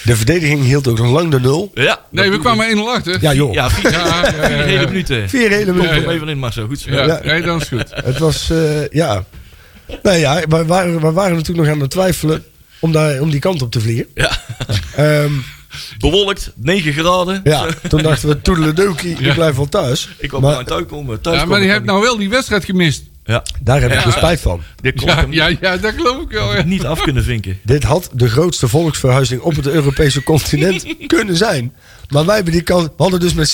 E: De verdediging hield ook nog lang de nul.
C: Ja,
B: Nee, we kwamen 1-0 achter.
E: Ja, joh.
B: <laughs>
C: ja vier,
B: Ja, ja, ja,
C: vier
B: ja.
C: hele minuten.
E: Vier hele
C: Kom,
E: minuten.
C: kom even in, Marcel. Goed zo.
B: Ja,
E: Ja.
B: Nee, dat is goed.
E: Het was, eh, ja. Nou ja, we waren, we waren natuurlijk nog aan het twijfelen om, daar, om die kant op te vliegen.
C: Ja.
E: Ehm,
C: Bewolkt, 9 graden.
E: ja, toen dachten we, toedeledookie, ik
B: Ja.
E: blijf wel thuis.
C: Ik kwam
E: maar
C: maar, thuis komen. Thuis
B: Ja, maar
C: komen,
B: die
C: kan
B: hebt nou wel die wedstrijd gemist.
C: ik- Ja,
E: daar heb ik
B: Ja.
E: dus spijt van.
C: dit kon ik
B: Ja,
C: hem
B: ja, ja, dat geloof ik wel. ja.
C: niet af kunnen
E: <laughs>
C: vinken.
E: Dit had de grootste volksverhuizing op het Europese continent
C: <laughs>
E: kunnen zijn. Maar wij hebben die kans, we hadden dus met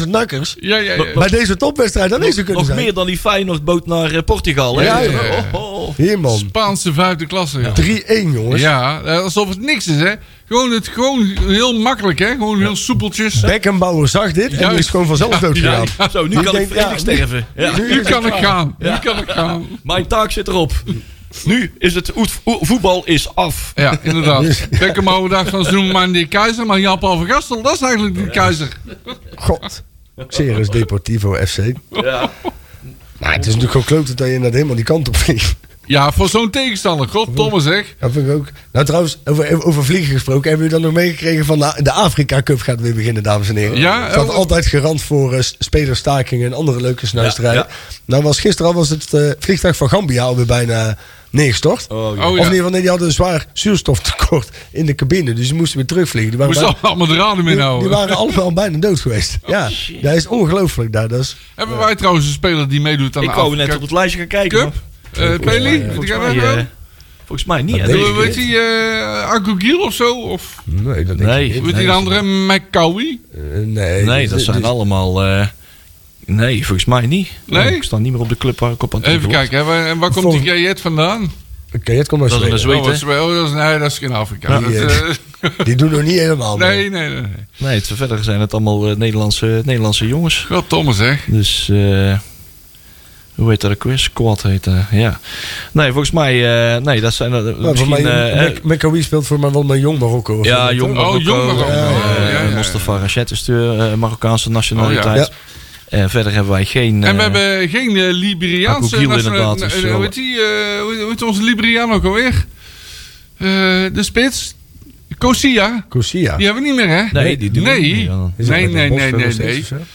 E: 60.000 nakkers
B: Ja, ja, ja.
E: bij deze topwedstrijd aanwezig kunnen
C: Nog
E: zijn.
C: meer dan die Feyenoordboot naar eh, Portugal. hè?
E: Ja,
B: ja.
C: Oh, oh.
E: Hier man,
B: Spaanse vijfde klasse. Ja.
E: 3-1 jongens.
B: Ja, eh, alsof het niks is, hè? Gewoon, het, gewoon heel makkelijk, hè? Gewoon heel soepeltjes.
E: Beckenbauer zag dit en die is
B: Juist.
E: gewoon vanzelf doodgegaan.
C: Ja, zo, nu
E: Die
C: kan ik
E: denkt, ja,
C: vredig sterven. Ja.
E: nu
B: Nu
E: is het
B: kan ik
E: klaar.
B: gaan. Nu kan ik gaan.
C: Mijn taak zit erop. Nu is het oet- o- voetbal is af.
B: Ja,
E: <laughs>
B: inderdaad. Beckenbauer dacht van, ze noemen maar die keizer, maar Jan Paul van Gastel, dat is eigenlijk die keizer.
E: God. Ceres Deportivo FC.
C: Ja.
E: Maar het is natuurlijk gewoon klote dat je inderdaad helemaal die kant op vliegt.
B: Ja, voor zo'n tegenstander. Goddomme zeg.
E: Dat vind ik ook. Nou trouwens, over, over vliegen gesproken. Hebben jullie dan nog meegekregen van de, de Afrika Cup gaat weer beginnen, dames en heren.
B: Ja,
E: Staat
B: eh,
E: altijd garant voor eh, s- spelerstakingen en andere leuke snuisterijen.
C: Ja,
E: Nou was gisteren al was het eh, vliegtuig van Gambia alweer bijna neergestort.
C: Oh,
B: ja.
E: Of in ieder geval, nee, die hadden een zwaar zuurstoftekort in de cabine. Dus die moesten weer terugvliegen. Die waren,
B: Moest
E: bijna-
B: allemaal allemaal de raden mee
E: die, die
B: houden. Oh,
E: waren allemaal <laughs> bijna dood geweest. ja, dat is ongelooflijk daar. Dat is
B: Hebben wij trouwens een speler die meedoet aan
C: Ik
B: de
C: wou net
B: Afrika
C: op het lijstje gaan kijken.
B: Cup?
C: maar
B: Eh, Peli? Die
C: Volgens
B: gaan
C: mij,
B: we wel?
C: eh, volgens mij niet. hè,
E: denk
C: deze
E: ik
B: Hoe heet
C: keer.
B: die? eh Agogiel of zo? Of
E: Nee, dat
C: Nee.
E: ik
B: hoe
E: niet.
B: heet die de andere? McCowie?
E: Eh, nee,
C: Nee,
E: dit-
C: dat
E: dit-
C: zijn allemaal... eh, nee, volgens mij niet.
B: Nee?
C: Ik sta niet meer op de club waar ik op aan toe
B: Even
C: behoor.
B: kijken, hè, waar- en waar komt die Gajet vandaan?
E: Oké, het komt uit
C: Dat is een
E: Zweden.
B: Oh, dat
C: zweet,
B: is, oh, dat is, nee, dat is geen Afrika.
E: Ja.
B: Dat, eh, <laughs>
E: Die doen nog niet helemaal mee.
B: nee, nee, nee. nee.
C: Nee, het- verder zijn het allemaal eh, Nederlandse, Nederlandse jongens.
B: Goddomme zeg.
C: Dus, eh, hoe heet dat ook weer? Squad heet dat, ja. Nee, volgens mij, eh, nee, dat zijn... eh,
E: Maar Nou, voor
C: misschien,
E: mij,
C: eh,
E: Mac-
C: eh,
E: Maccabi speelt voor mij wel met Jong Marokko. of zo,
C: ja,
E: toch?
C: jong Marokko.
B: Oh, jong Marokko.
C: eh,
B: Ja, ja, ja.
C: Mostafa Rachet is de eh, Marokkaanse nationaliteit.
E: Oh,
C: Eh, verder hebben wij geen...
B: En we
C: eh,
B: hebben geen eh, Liberiaanse...
C: Agogiel
B: nationale-
C: inderdaad, dus,
B: eh,
C: eh,
B: hoe heet die? eh, hoe, hoe heet onze Liberiaan ook alweer? Eh, de spits? Kosia?
E: Corsia.
B: Die hebben we niet meer, hè?
C: Nee, die doen we
B: nee.
C: niet meer dan.
E: Is dat
B: Nee,
E: met
B: nee,
E: een
B: nee,
E: bosveld
B: nee,
E: of zoiets
B: nee.
E: of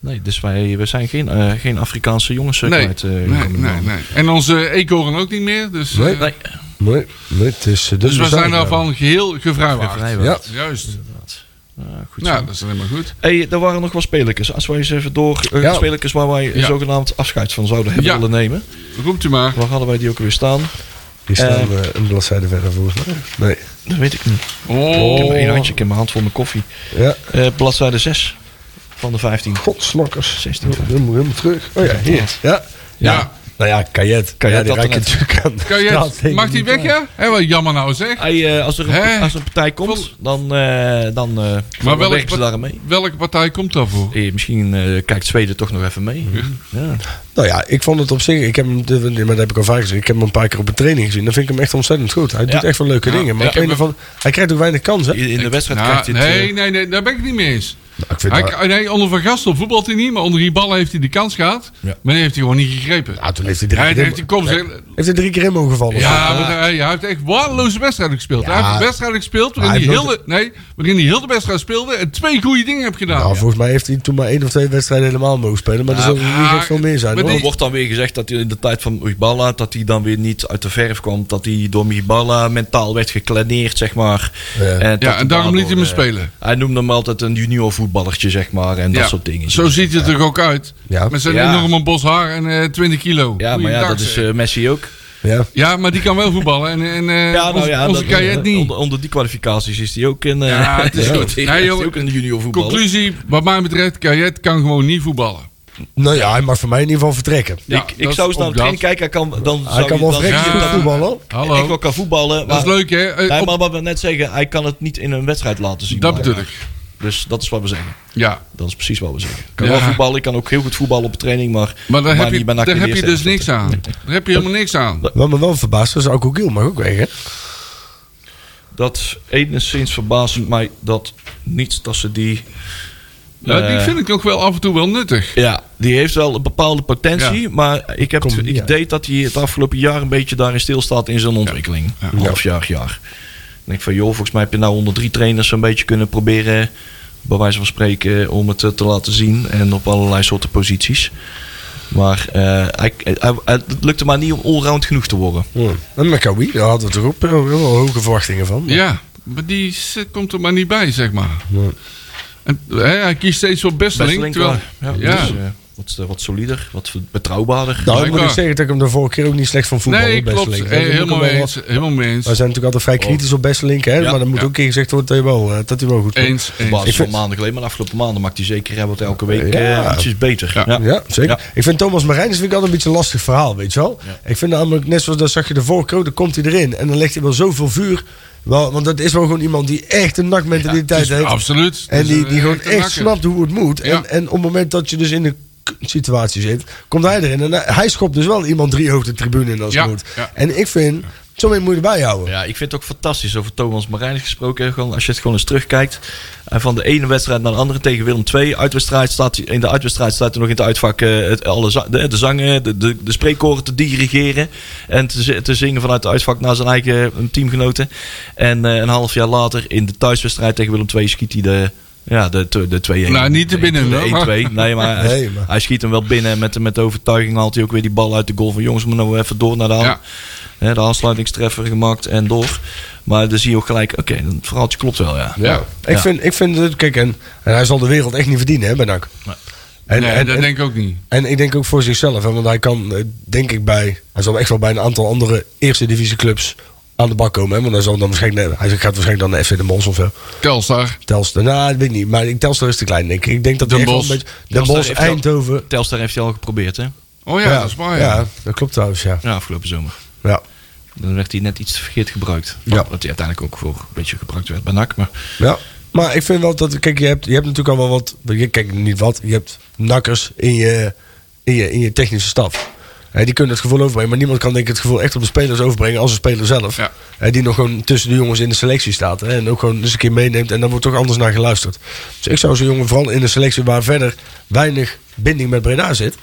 E: zo?
C: Nee, dus wij we zijn geen, eh, geen Afrikaanse jongens eh,
B: Nee,
C: kwijt. eh,
B: nee,
C: komende
B: nee,
C: maanden.
B: nee. En onze eekhoorn ook niet meer. Dus, eh,
E: Nee.
C: Nee,
E: Nee, nee, het
B: dus
E: is eh, dubbel
B: we zijn
E: zaak, ja.
B: daarvan geheel gevrijwaard.
C: vrijwaard.
E: Ja.
B: Juist.
C: Ja, goed zo.
B: Nou, dat is alleen maar goed.
C: Hey, er waren nog wel spelers. Als wij eens even door. eh,
E: Ja.
C: Spelers waar wij eh,
B: Ja.
C: zogenaamd afscheid van zouden hebben
B: Ja.
C: willen nemen.
B: Roept u maar.
C: Waar hadden wij die ook weer staan?
E: Die staan eh, een bladzijde verder volgens mij. Nee.
C: Dat weet ik niet. Ik heb
B: Oh.
C: één handje, ik heb mijn hand vol mijn koffie.
E: Ja,
C: Eh, bladzijde 6 van de 15.
E: godslokkers.
C: 16.
E: Helemaal, helemaal terug. Oh ja, hier. Ja.
B: Ja.
E: Nou ja, Kajet.
C: Kayet
E: Ja, die
C: had
E: raak je
C: er net.
E: natuurlijk aan de
B: Kan
E: straat
B: je,
E: tegen
B: mag die
E: elkaar.
B: weg, ja? Hé, wat jammer nou zeg.
C: Hey, eh, als, er
B: Hè?
C: een, als er een partij komt, dan, eh dan eh, dan
B: welk
C: werken ze
B: part-
C: daarmee.
B: Welke partij komt daarvoor?
C: Eh, misschien eh, kijkt Zweden toch nog even mee. Ja.
E: Nou ja, ik vond het op zich. Ik heb hem, de- maar dat heb ik al vaak gezien. Ik heb hem een paar keer op een training gezien. Dan vind ik hem echt ontzettend goed. Hij
C: Ja.
E: doet echt wel leuke
B: Ja.
E: dingen. Maar
B: Ja.
E: op een of andere- hij krijgt ook weinig kansen.
C: In, in de wedstrijd
B: Nou,
C: krijgt hij het.
B: nee,
C: eh,
B: nee, nee, daar ben ik het niet mee eens.
E: ik vind
B: Hij, nee, onder Van Gastel voetbalt hij niet, maar onder die ballen heeft hij de kans gehad.
E: Ja.
B: Maar die heeft hij gewoon niet gegrepen.
E: Ja, toen heeft hij drie
B: hij
E: keer
B: heeft die kom zeg-
E: Heeft hij drie keer in mogen gevallen?
B: Ja, maar hij, hij heeft echt waardeloze wedstrijden gespeeld.
E: Ja.
B: Hij heeft een wedstrijd gespeeld waarin
E: Hij
B: hij,
E: heeft
B: heel de, nee, waarin hij heel de wedstrijd speelde en twee goede dingen heeft gedaan.
E: Nou,
B: Ja.
E: volgens mij heeft hij toen maar één of twee wedstrijden helemaal mogen spelen. Maar er zullen er niet
B: maar-
E: echt veel meer zijn.
B: maar
E: hoor.
C: Er
B: die-
C: wordt dan weer gezegd dat hij in de tijd van Uibala, dat hij dan weer niet uit de verf kwam. Dat hij door Uibala mentaal werd gekleineerd, zeg maar.
E: Ja.
C: dat
E: Ja,
C: hij
B: en daarom liet hij hem
C: daardoor, eh,
B: spelen.
C: Hij noemde hem altijd een junior voetballertje, zeg maar. En dat soort dingen.
B: Zo ziet het er ook uit.
E: Ja.
B: Met zijn
C: Ja.
B: enorme bos haar en eh 20 kilo.
C: ja, maar ja,
B: Goeiedag,
C: dat is
B: zeg.
C: eh, Messi ook.
E: Ja.
B: ja, maar die kan wel voetballen. En, en eh,
C: ja, nou
B: onze,
C: ja,
B: onze
C: dat-
B: Kajet
C: eh,
B: niet.
C: Onder, onder die kwalificaties is hij ook een. eh,
B: Ja, het
C: <laughs>
B: is
C: ja,
B: goed.
C: is hij
B: Nee, joh,
C: ook een junior voetballer.
B: Conclusie, wat mij betreft, Kajet kan gewoon niet voetballen.
E: Nou ja, hij mag voor mij in ieder geval vertrekken.
B: Ja,
C: ik
B: dat
C: ik
B: is
C: zou eens naar
B: ook
C: het trainen
B: dat.
C: kijken. Hij kan, dan
E: Hij kan wel verrekken
B: ja.
E: goed voetballen. hoor.
B: Hallo.
C: Ik wel kan voetballen.
B: dat is
C: maar-
B: leuk, hè? Eh,
C: Nee,
B: op-
C: maar wat we net zeggen, hij kan het niet in een wedstrijd laten zien.
B: dat
C: blijkbaar.
B: bedoel ik.
C: Dus dat is wat we zeggen.
B: Ja,
C: Dat is precies wat we zeggen. Ik kan
B: Ja.
C: wel voetballen, ik kan ook heel goed voetballen op training, maar,
B: maar daar heb je,
C: niet bij NAC
B: daar
C: in de
B: heb je dus
C: eerste
B: niks
C: helft.
B: aan. Daar heb je helemaal niks aan.
E: Wat me wel verbaast is, ook Giel mag ook weg. hè?
C: Dat enigszins verbaast mij dat niet dat ze die
B: Nou, die
C: Eh,
B: vind ik ook wel af en toe wel nuttig.
C: Ja, die heeft wel een bepaalde potentie.
B: Ja.
C: Maar ik heb
E: Kom,
C: het
E: ja.
C: idee dat hij het afgelopen jaar een beetje daarin stilstaat in zijn ontwikkeling. Een half jaar, jaar. Ik denk van, joh, volgens mij heb je nou onder drie trainers een beetje kunnen proberen, bij wijze van spreken, om het eh, te laten zien. En op allerlei soorten posities. Maar eh, hij, hij- hij- het lukte maar niet om allround genoeg te worden.
E: Ja. En Maccabi, daar hadden we toch ook eh, wel hoge verwachtingen van. Nou, Maar-
B: Ja, maar die zit- komt er maar niet bij, zeg maar.
E: Nee.
B: En, hè, hij kiest steeds voor Bestelink.
C: Bestelink
B: Terwijl,
C: wel. Ja,
B: ja.
C: dus, eh, wat, eh, wat solider, wat betrouwbaarder.
E: Nou, ik moet
B: Blijkbaar.
E: ik zeggen dat ik hem de vorige keer ook niet slecht van voetbal
B: nee, klopt.
E: Bestelink.
B: Eh,
E: Dat moet ik
B: helemaal,
E: hem
B: mee
E: wel
B: eens, helemaal mee eens.
E: We zijn natuurlijk altijd vrij kritisch op Bestelink, hè?
C: Ja,
E: maar dan moet
B: ja.
E: ook een keer gezegd worden dat hij wel, eh, dat hij wel goed komt.
B: Eens,
C: Op
B: eens.
C: basis
E: Ik
C: van
E: vind-
C: maanden geleden, maar de afgelopen maanden maakt hij zeker hè, wat elke week
E: Ja.
C: eh, ietsjes beter.
B: Ja.
E: Ja, zeker.
C: Ja.
E: Ik vind Thomas Marijnis vind ik altijd een beetje een lastig verhaal, weet je wel. Ik vind namelijk, net zoals dat zag je de vorige keer, ook, dan komt hij erin. En dan legt hij wel zoveel vuur. Wel, want dat is wel gewoon iemand die echt een nakmentaliteit
B: Het is-
E: heeft.
B: Absoluut.
E: En
B: Het is
E: die,
B: een
E: die gewoon
B: echte
E: echt
B: nakker.
E: snapt hoe het moet.
B: Ja.
E: En, en op het moment dat je dus in de k- situatie zit, komt hij erin. En hij- hij schopt dus wel iemand drie hoog de tribune in als het
B: Ja,
E: moet.
B: ja.
E: En ik vind, zo mee moet je erbij houden.
C: Ja, ik vind het ook fantastisch over Thomas Marijnis gesproken. Gewoon, als je het gewoon eens terugkijkt. En van de ene wedstrijd naar de andere tegen Willem II. Uitwedstrijd staat, hij- in de uitwedstrijd staat hij nog in het uitvak eh, het, alle za- de, de zangen, de, de, de spreekkoren te dirigeren. En te, zi- te zingen vanuit het uitvak naar zijn eigen eh, teamgenoten. En eh, een half jaar later in de thuiswedstrijd tegen Willem II schiet hij de... Ja, de, de, de 2-1.
B: Nou, niet te
C: De
B: binnen, hoor.
C: 1-2. Nee,
B: <laughs>
C: maar hij,
E: Nee, maar-
C: hij schiet hem wel binnen. En met, de- met de overtuiging haalt hij ook weer die bal uit de goal. Van jongens, we moeten nou even door naar de hand.
B: Ja.
C: Hè, de aansluitingstreffer gemaakt en door. Maar dan zie je ook gelijk, oké, het verhaaltje klopt wel, ja.
B: Ja.
E: Ik,
C: Ja.
E: Vind, ik vind, het- kijk, en, en hij zal de wereld echt niet verdienen, hè, bij NAC.
C: Nee.
E: En,
B: nee,
E: en-
B: dat
E: en-
B: denk ik ook niet.
E: En ik denk ook voor zichzelf. Hè, want hij kan, eh, denk ik, bij. Hij zal echt wel bij een aantal andere eerste divisieclubs aan de bak komen. Hè, want hij, zal dan waarschijnlijk, hij gaat waarschijnlijk dan naar FC de Mos of zo.
B: Telstar.
E: Telstar. Nou, dat weet ik niet. Maar ik Telstar is te klein, denk ik. Ik denk dat
B: Den
E: hij echt wel een
B: Bosch.
E: beetje. De
C: Telstar
E: Bos,
C: heeft wel-
E: Eindhoven.
C: Telstar heeft hij al geprobeerd, hè?
B: Oh ja, dat is waar. Ja.
E: ja, dat klopt trouwens, ja.
C: Ja, afgelopen zomer.
E: ja.
C: Dan werd hij net iets verkeerd gebruikt.
E: Ja.
C: Wat hij uiteindelijk ook voor een beetje gebruikt werd bij NAC. Maar
E: Ja. Maar ik vind wel dat. Kijk, je hebt, je hebt natuurlijk al wel wat. je- Kijk, niet wat. Je hebt nakkers in je, in je, in je technische staf. Hè, die kunnen het gevoel overbrengen. Maar niemand kan denk ik het gevoel echt op de spelers overbrengen als de speler zelf.
B: Ja.
E: Hè, die nog gewoon tussen de jongens in de selectie staat. Hè, en ook gewoon eens een keer meeneemt. En daar wordt toch anders naar geluisterd. Dus ik zou zo'n jongen vooral in de selectie waar verder weinig binding met Breda zit.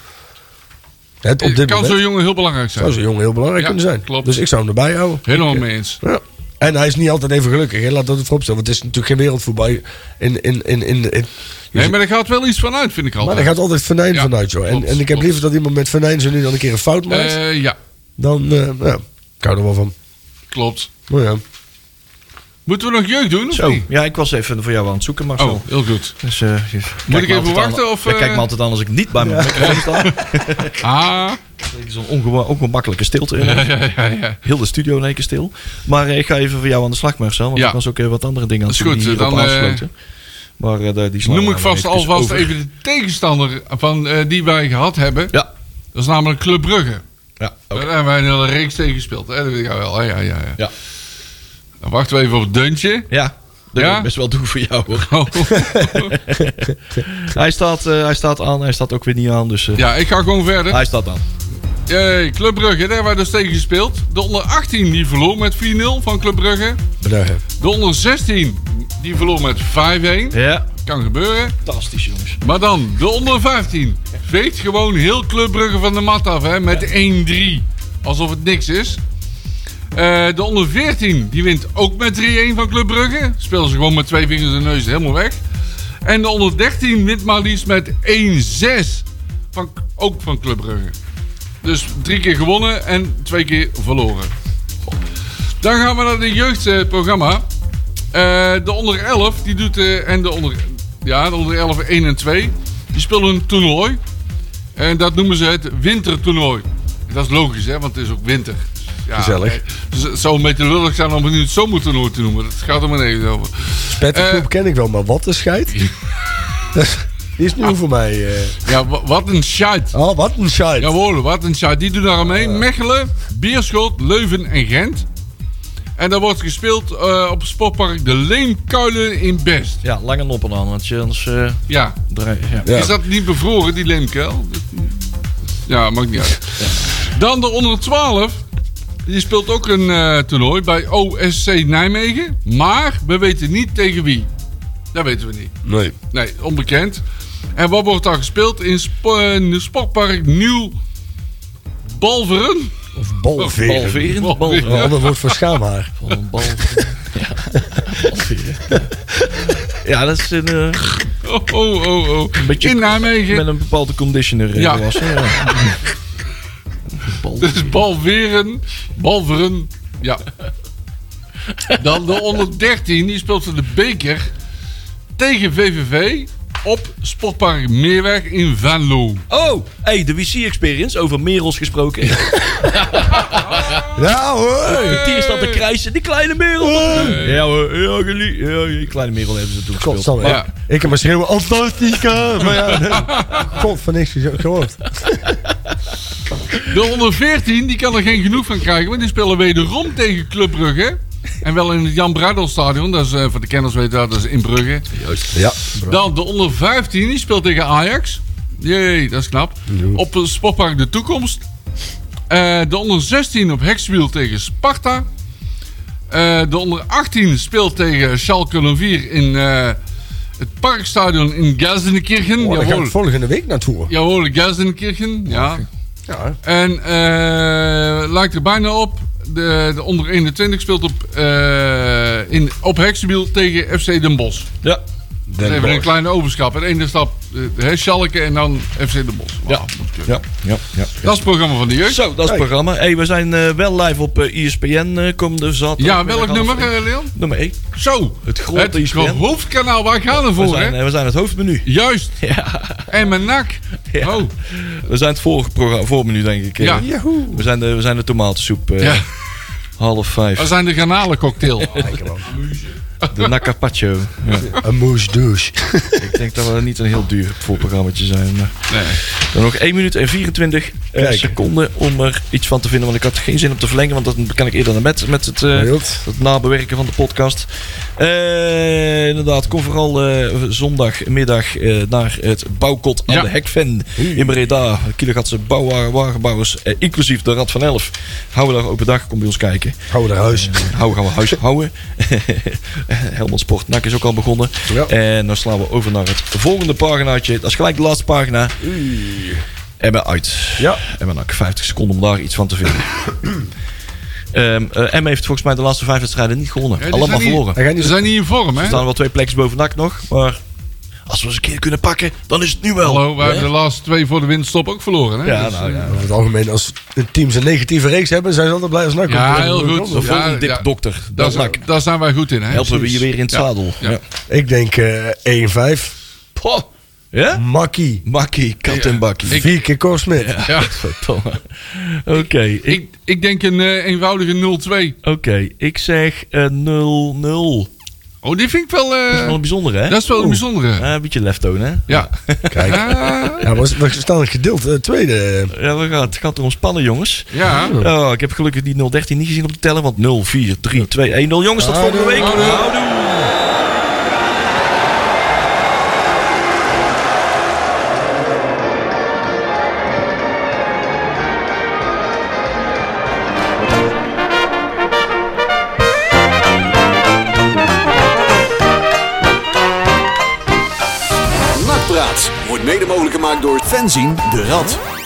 E: Hè, op dit
B: Het kan
E: moment
B: zo'n jongen heel belangrijk
E: zou
B: zijn.
E: zo'n jongen heel belangrijk
B: Ja,
E: kunnen zijn.
B: klopt.
E: Dus ik zou hem erbij houden. eh,
B: Helemaal mee eens.
E: Ja. En hij is niet altijd even gelukkig, hè? laat dat voorop staan. Want het is natuurlijk geen wereldvoetbal. In, in, in, in, in,
B: Nee, maar daar gaat wel iets van uit, vind ik
E: maar
B: altijd.
E: er gaat altijd venijn
B: Ja,
E: vanuit, joh. En,
B: klopt,
E: en ik heb
B: klopt.
E: liever dat iemand met venijn zo nu dan een keer een fout maakt.
B: Eh, ja,
E: dan, eh, ja, ik hou er wel van.
B: klopt.
E: Maar ja.
B: Moeten we nog jeugd doen of
C: zo,
B: niet?
C: ja, ik was even voor jou aan het zoeken, maar zo.
B: Oh, heel goed.
C: Dus, eh, je- kijk
B: ik
C: me
B: even
C: altijd aan-
B: wachten, of,
C: Ja, kijk
B: eh?
C: me altijd aan als ik niet bij mijn microfoon sta. <laughs>
B: Ah, <laughs>
C: Zo'n ongewo- ongemakkelijke stilte.
B: ja, ja, ja, ja.
C: Heel de studio in één keer stil. Maar eh, ik ga even voor jou aan de slag, Marcel. Want
B: Ja.
C: ik was ook even wat andere dingen aan het
B: Is
C: doen
B: goed,
C: die hierop
B: dan, eh,
C: aansloten. Maar eh, daar- die slaan
B: Noem
C: we
B: ik
C: dan
B: vast
C: eventjes
B: alvast
C: over.
B: even de tegenstander van, eh, die wij gehad hebben.
C: Ja.
B: Dat is namelijk Club Brugge.
C: Ja, oké.
B: Daar hebben wij een hele reeks tegen gespeeld. Hè? Dat weet ik wel. Oh, Ja, ja, ja.
C: Ja.
B: Dan wachten we even op het deuntje.
C: ja. Dat
B: Ja?
C: wil ik best wel doen voor jou hoor.
E: <laughs>
B: Oh.
C: Hij staat, eh, hij staat aan, hij staat ook weer niet aan. Dus eh,
B: ja, ik ga gewoon verder.
C: hij staat aan.
B: Eh, Club Brugge, daar hebben wij dus tegen gespeeld. De onder 18 die verloor met 4-0 van Club Brugge.
E: Bedankt.
B: De onder 16 die verloor met 5-1.
C: Ja.
B: Kan gebeuren.
C: Fantastisch jongens.
B: Maar dan, de onder 15. Veegt gewoon heel Club Brugge van de mat af, hè. Met 1-3. Alsof het niks is. Eh, de onder 14, die wint ook met 3-1 van Club Brugge. Spelen ze gewoon met twee vingers in de neus helemaal weg. En de onder 13 wint maar liefst met 1-6. Van, ook van Club Brugge. Dus drie keer gewonnen en twee keer verloren. Dan gaan we naar de jeugdprogramma. Eh, de onder 11 die doet, eh, en de onder, ja, de onder 11 1 en 2 die spelen een toernooi. En dat noemen ze het wintertoernooi. Dat is logisch, hè, want het is ook winter. Ja,
E: Gezellig.
B: eh, Dus het zou een beetje lullig zijn om het nu het zomertoernooi te noemen. Dat gaat er maar even over. Eh.
E: Spettergroep ken ik wel, maar wat een scheid. die is
B: Ah.
E: nieuw voor mij. eh.
B: Ja, wa- wat een shite.
E: Oh, wat een scheid.
B: Jawohl, wat een shite. Die doen daar aan mee. Mechelen, Beerschot, Leuven en Gent. En dat wordt gespeeld eh, op het sportpark De Leemkuilen in Best.
C: Ja, lange noppen aan, want je anders... eh,
B: Ja,
C: draai- <laughs> ja.
E: Ja.
B: Is dat niet bevroren, die leemkuil? Ja, maakt niet uit. Dan de onder 12. Die speelt ook een eh, toernooi bij OSC Nijmegen. Maar we weten niet tegen wie. Dat weten we niet.
E: Nee.
B: Nee, onbekend. En wat wordt daar gespeeld? In spo- eh, sportpark Nieuw Balveren.
E: Of balveren.
C: Balverend.
E: Oh,
B: Balverend.
E: Een ander woord voor schaamhaar.
C: Van een bal. ja, dat is een, eh,
B: Oh, oh, oh. oh.
C: beetje-
B: In Nijmegen.
C: met een bepaalde conditioner eh,
B: Ja.
C: gewassen. Ja.
B: Dus Balveren. Balveren. Ja. Dan de onder 13. Die speelt voor de beker. Tegen VVV. Op Sportpark Meerweg in Venlo.
C: <laughs> Oh, hey, de WC Experience, over merels gesproken.
E: Ja
C: <laughs>
E: hoor!
C: Die is dat te krijsen, die kleine merel. Ja hoor, ja, jullie- ja, die Oh. kleine merel hebben ze toen gespeeld.
E: Godsamme.
B: Ja.
E: Ik heb maar schreeuwen, Antarctica! Maar
B: <laughs>
E: ja, nee. God, van niks gezo- gehoord.
B: De onder 14 die kan er geen genoeg van krijgen, want die spelen wederom tegen Club Brugge. En wel in het Jan Bruidelstadion, dat is eh, voor de kenners weten dat, dat is in Brugge.
E: Ja.
B: Dan de onder 15 die speelt tegen Ajax. Jee, dat is knap. Op het Sportpark De Toekomst. Eh, de onder 16 op Hekswiel tegen Sparta. Eh, de onder 18 speelt tegen Schalke 04 in eh, het Parkstadion in Gelsenkirchen.
E: Oh, daar gaan
B: Jawohl.
E: we volgende week naartoe.
B: Jawohl, Gelsenkirchen. Ja.
E: Ja.
B: En eh lijkt er bijna op. De, de onder 21 speelt op, eh, in, op Heksenbiel tegen FC Den Bosch.
C: Ja.
B: Dus even een
E: Bosch.
B: kleine overschap. En ene stap eh, hè, Schalke en dan FC Den Bosch. Ja.
C: Ja, ja, ja.
B: Dat is het programma van de jeugd.
C: Zo, dat is het
E: Hey.
C: programma. Hey, we zijn eh, wel live op eh, ESPN eh komende zaterdag.
B: ja, welk nummer, eh, Leon?
C: Nummer 1.
B: Zo.
C: Het grote E
B: het
C: ESPN.
B: hoofdkanaal. Waar gaan we
C: We
B: voor,
C: zijn,
B: hè?
C: eh, we zijn het hoofdmenu.
B: Juist.
C: <laughs> Ja.
B: En mijn nak.
C: Ja.
B: Oh,
C: We zijn het vorige programma, voormenu denk ik. eh.
B: Ja.
C: We zijn de, we zijn de tomatensoep. eh,
B: ja.
C: Half vijf.
B: Dat zijn de
C: <laughs>
B: granalencocktail.
C: De Nakapacho.
B: <laughs>
C: Ja.
E: Een moes douche.
C: ik denk dat we niet een heel duur voorprogrammaatje zijn. maar-
B: Nee.
C: Dan nog 1 minuut en 24 eh,
E: Kijk.
C: seconden om er iets van te vinden. Want ik had geen zin om te verlengen, want dat kan ik eerder naar bed met het, eh,
E: Wild.
C: het nabewerken van de podcast. Eh, inderdaad, kom vooral eh, zondagmiddag eh, naar het Bouwkot aan
B: Ja.
C: de Hekven in Breda. Kielegatse bouwwagen- wagenbouwers, eh, inclusief de Rad van Elf. Houden daar open dag, kom bij ons kijken.
E: Houden naar huis.
C: Hou gaan we huishouden. <laughs> Helmond Sport NAC is ook al begonnen.
E: Ja.
C: En dan slaan we over naar het volgende paginaatje. Dat is gelijk de laatste pagina. Emma uit.
E: Ja.
C: Emma NAC. 50 seconden om daar iets van te
B: <coughs>
C: vinden. Ehm eh, Emma heeft volgens mij de laatste vijf wedstrijden niet gewonnen.
B: Ja, die
C: Allemaal
B: zijn niet-
C: verloren.
E: Hij gaat
B: Ze
E: niet
B: zijn niet in vorm, hè?
C: Er staan wel twee plekjes boven NAC nog. Maar als we eens een keer kunnen pakken, dan is het nu wel.
B: Hallo, we
C: Ja.
B: hebben de laatste twee voor de winststop ook verloren, hè?
C: Ja,
B: Dus,
C: nou ja.
E: Over het algemeen, als een team zijn negatieve reeks hebben, zijn ze altijd blij als NAC.
B: Ja,
E: komt.
B: heel goed.
C: De volgende
B: Ja,
C: dik
B: ja.
C: dokter.
B: Daar,
C: Dat
B: zijn-
C: NAC.
B: daar zijn wij goed in, hè?
C: Helpen we je weer in het
B: Ja.
C: zadel.
B: Ja.
C: Ja?
E: Ik denk eh 1-5.
C: Poh. ja?
E: Makkie.
C: Makkie, kat en bakkie.
B: Ik-
E: Vier keer Korsmit.
C: <laughs>
B: Ja.
C: Verdomme. Oké, ik,
B: Ik, ik denk een eh, eenvoudige 0-2.
C: oké, ik zeg eh, 0-0.
B: Oh, die vind ik wel... eh,
C: dat is wel een bijzondere, hè?
B: dat is wel een
C: Oeh.
B: bijzondere.
C: Ah, een beetje left tone, hè? <laughs>
B: Ja.
E: Kijk.
B: Ah,
E: Ja, was, we staan in het gedeelte, eh, tweede.
C: Ja, we gaan, het gaat erom spannen, jongens.
B: ja.
C: Oh, ik heb gelukkig die 013 niet gezien op de teller, want 0, 4, 3, 2, 1, 0. Jongens, tot volgende week.
B: Houdoe.
C: Houdoe.
A: Nakpraat wordt mede mogelijk gemaakt door Fenzin de Rad.